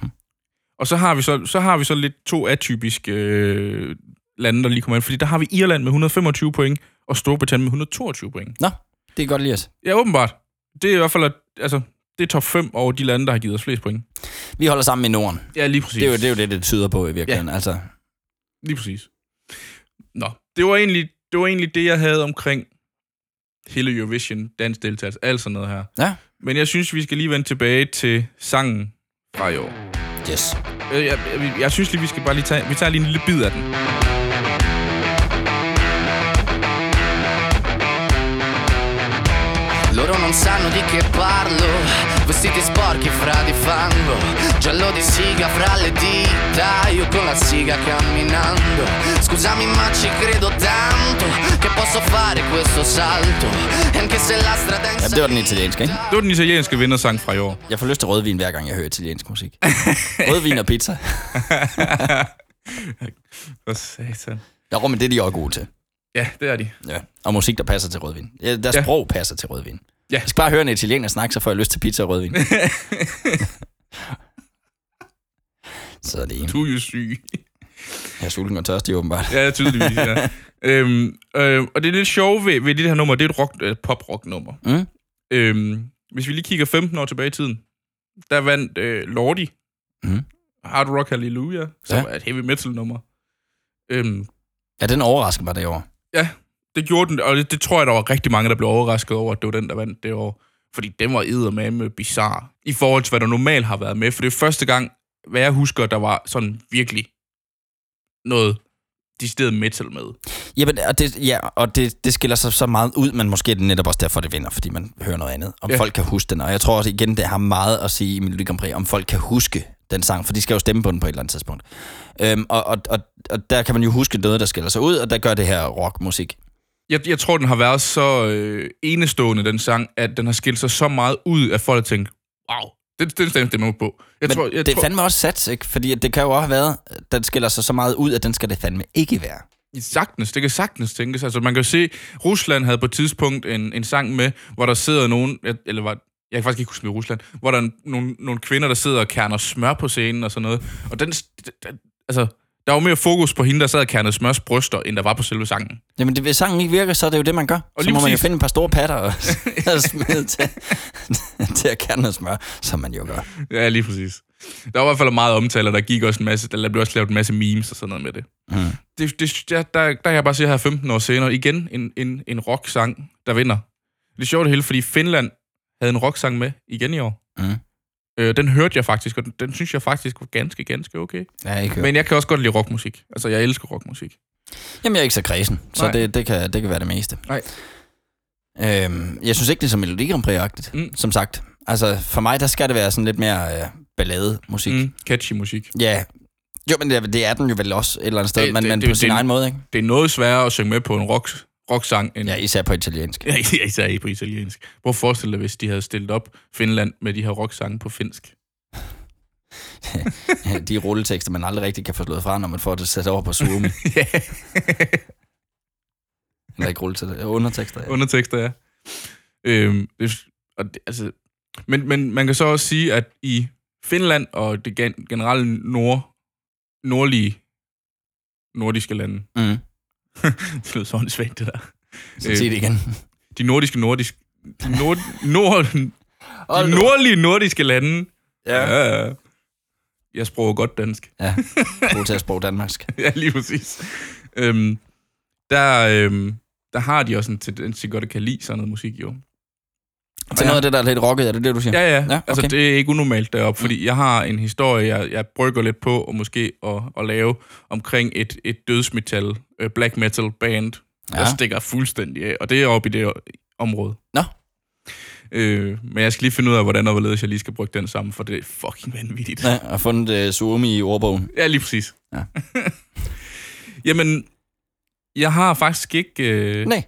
S3: Og så har, vi så, så har vi så lidt to atypiske øh, lande, der lige kommer ind. Fordi der har vi Irland med 125 point, og Storbritannien med 122 point.
S2: Det er godt lige os.
S3: Ja, åbenbart. Det er i hvert fald, at, altså, det er top 5 over de lande, der har givet os flest point.
S2: Vi holder sammen i Norden.
S3: Ja, lige præcis.
S2: Det er jo det, er jo det, det tyder på i virkeligheden. Ja. Altså,
S3: Lige præcis. Nå, det var egentlig det, var egentlig det jeg havde omkring hele Eurovision, dansk deltagelse, alt sådan noget her.
S2: Ja.
S3: Men jeg synes, vi skal lige vende tilbage til sangen fra i år.
S2: yes.
S3: Øh, Jeg, jeg, jeg synes lige, vi skal bare lige tage, vi tager lige en lille bid af den.
S4: Loro non sanno di che parlo Vestiti sporchi fra di fango Giallo di siga fra le dita Io con la siga camminando Scusami ma ci credo tanto Che posso fare questo salto E anche se la strada è
S2: Ja,
S4: in
S2: det var den
S4: salita,
S2: italienske, ikke?
S3: Det var den italienske vindersang fra i år.
S2: Jeg får lyst til rødvin, hver gang jeg hører italiensk musik. rødvin og pizza.
S3: Hvad satan.
S2: Ja, men det er de også gode til.
S3: Ja, det er de.
S2: Ja. Og musik, der passer til rødvin. Ja, deres
S3: Ja.
S2: ja. sprog passer til rødvin.
S3: Ja.
S2: Jeg skal bare høre en italiener snakke, så får jeg lyst til pizza og rødvin. så er det en.
S3: Du er jo syg.
S2: Jeg er sulten og tørstig, åbenbart.
S3: Ja, tydeligvis, ja. øhm, øh, og det er lidt sjovt ved, ved det her nummer, det er et rock, øh, pop-rock-nummer.
S2: Mm.
S3: Øhm, hvis vi lige kigger 15 år tilbage i tiden, der vandt øh, Lordi
S2: Mhm.
S3: Hard Rock Hallelujah, som
S2: Ja.
S3: er et heavy metal-nummer. Øhm,
S2: Ja, den overrasker mig det år.
S3: ja, det gjorde den, og det, det tror jeg, der var rigtig mange, der blev overrasket over, at det var den, der vandt det år. Fordi den var eddermame bizarre i forhold til, hvad der normalt har været med. For det er første gang, hvad jeg husker, der var sådan virkelig noget decideret metal med.
S2: Jamen, og, det, ja, og det, det skiller sig så meget ud, men måske er det netop også derfor, det vinder, fordi man hører noget andet. Om
S3: Ja.
S2: ja. folk kan huske den. Og jeg tror også igen, det har meget at sige i Melodi Grand Prix, om folk kan huske den sang, for de skal jo stemme på den på et eller andet tidspunkt. Øhm, og, og, og, og der kan man jo huske noget, der skiller sig ud, og der gør det her rockmusik.
S3: Jeg, jeg tror, den har været så øh, enestående, den sang, at den har skilt sig så meget ud, at folk har tænkt, wow, den, den stemte man på. Jeg
S2: Men
S3: tror, jeg
S2: det er
S3: tror,
S2: fandme også sats, ikke? Fordi at det kan jo også have været, at den skiller sig så meget ud, at den skal det fandme ikke være.
S3: Sagtens, det kan sagtens tænkes. Altså, man kan jo se, Rusland havde på et tidspunkt en, en sang med, hvor der sidder nogen, jeg- eller var, jeg kan faktisk ikke huske, om det var Rusland, hvor der er nogle, nogle kvinder, der sidder og kerner smør på scenen og sådan noget. Og den, den, altså, der var mere fokus på hende, der sad og kernede smørs bryster, end der var på selve sangen.
S2: Jamen, det, hvis sangen ikke virker, så er det jo det, man gør. Og så
S3: lige
S2: må man jo
S3: præcis-
S2: finde et par store patter og, og smide til, til at kerne noget smør, som man jo gør.
S3: Ja, lige præcis. Der var i hvert fald meget omtale, og der gik også en masse, der blev også lavet en masse memes og sådan noget med det.
S2: Mm.
S3: det, det der, der, der kan jeg bare se her 15 år senere, igen en, en, en rock-sang, der vinder. Det er sjovt det hele, fordi Finland havde en rock-sang med igen i år.
S2: Mm.
S3: Øh, den hørte jeg faktisk, og den, den synes jeg faktisk var ganske, ganske okay.
S2: Ja, ikke
S3: Men jeg kan også godt lide rockmusik. Altså, jeg elsker rockmusik.
S2: Jamen, jeg er ikke så kredsen, så
S3: Nej.
S2: det, det, kan, det kan være det meste.
S3: Nej.
S2: Øhm, jeg synes ikke, det er så Melodi Grand Prix-agtigt,
S3: Mm.
S2: mm. som sagt. Altså, for mig, der skal det være sådan lidt mere øh, ballademusik. Mm.
S3: Mm, catchy musik.
S2: Ja, jo, men det, er- det er den jo vel også et eller andet sted,
S3: Det-
S2: det, men,
S3: det-
S2: men
S3: det-
S2: på
S3: det-
S2: sin
S3: det-
S2: egen måde, ikke?
S3: Det er noget sværere at synge med på en rock, rock-sang, end
S2: Ja, især på italiensk.
S3: ja, især på italiensk. Prøv at forestille dig, hvis de havde stillet op Finland med de her rock-sange på finsk.
S2: de rulletekster, man aldrig rigtig kan få slået fra, når man får det sat over på Zoom.
S3: Ja.
S2: Eller ikke rulletekster, øh, undertekster. Ja.
S3: undertekster, ja. Øhm, det, og det, altså, men, men man kan så også sige, at i Finland og det gen, generelle nord, nordlige nordiske lande,
S2: Mm.
S3: det lyder sådan svagt det der. Øh.
S2: Så sig det igen.
S3: De nordiske nordiske, de, nord, nord,
S2: Hold
S3: de
S2: nu.
S3: nordlige nordiske lande.
S2: Ja.
S3: ja, ja. Jeg sproger godt dansk.
S2: ja. God til at sprog danmarksk.
S3: ja, lige præcis. Øhm, der, øhm, der har de også en tendens til godt at kan lide sådan noget musik, jo.
S2: Til noget af det, der er lidt rocket, er det det, du siger?
S3: Ja, ja. ja
S2: Ja,
S3: okay. Altså,
S2: okay.
S3: det er ikke unormalt deroppe, fordi jeg har en historie, jeg, jeg brygger lidt på, og måske at, at lave omkring et, et dødsmetal, øh, black metal band, ja. der
S2: Ja.
S3: stikker fuldstændig af, og det er oppe i det o- område.
S2: Nå.
S3: Øh, men jeg skal lige finde ud af, hvordan og hvorledes jeg lige skal bruge den sammen, for det er fucking vanvittigt.
S2: Ja, og fundet uh, Suomi i ordbogen.
S3: Ja, lige præcis.
S2: Ja.
S3: Jamen, jeg har faktisk ikke... Øh,
S2: Nej.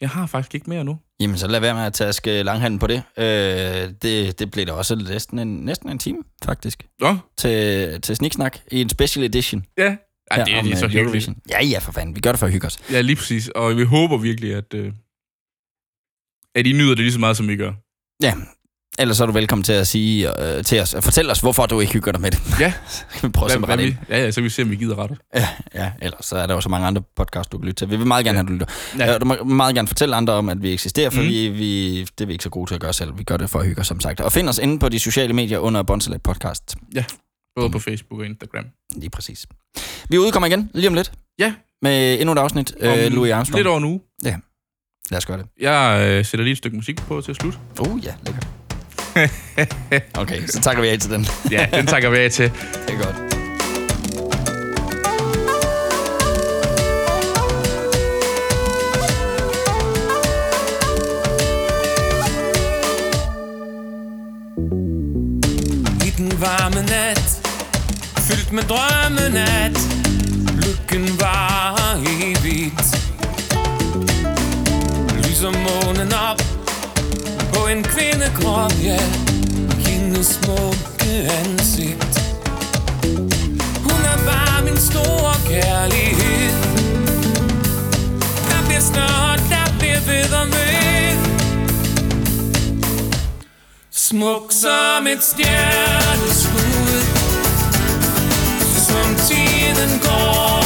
S3: Jeg har faktisk ikke mere nu.
S2: Jamen, så lad være med at taske langhanden på det. Øh, det. Det blev da også næsten en, næsten en time, faktisk,
S3: Nå,
S2: til, til Sniksnak i en special edition.
S3: ja. Ej,
S2: her
S3: det er
S2: om,
S3: lige så
S2: øh,
S3: hyggeligt.
S2: Eurovision. Ja, ja, for fanden. Vi gør det for at hygge os.
S3: Ja, lige præcis. Og vi håber virkelig, at, øh, at I nyder det lige så meget, som vi gør.
S2: Ja, ellers så er du velkommen til at sige øh, til os, fortæl os, hvorfor du ikke hygger dig med det.
S3: Ja.
S2: så kan vi prøve at se, hvad
S3: vi, ja, ja, så kan vi se, om vi gider rette.
S2: Ja, ja, ellers så er der jo så mange andre podcasts, du kan lytte til. Vi vil meget gerne have, du lytter.
S3: Ja.
S2: Ja. Du må meget gerne fortælle andre om, at vi eksisterer, for
S3: Mm.
S2: mm. vi, vi, det er vi ikke så gode til at gøre selv. Vi gør det for at hygge os, som sagt. Og find os inde på de sociale medier under Bonsalat Podcast.
S3: Både på Facebook og Instagram.
S2: Lige præcis. Vi udkommer igen lige om lidt.
S3: Ja.
S2: Med endnu et afsnit.
S3: Om
S2: Øh, Louis Armstrong.
S3: Lidt over nu.
S2: Lad os gøre det.
S3: Jeg øh, sætter lige et stykke musik på til slut.
S2: Oh ja, lækkert. okay, så takker vi af til den. Det
S3: Ja, den takker vi af til.
S2: er godt.
S5: I den varme nat Fyldt med drømmen at Lykken var evigt Lyser månen op På en kvindekrop, ja Hendes smukke ansigt Hun er bare min store kærlighed Der Smuk som et stjerneskud Som tiden går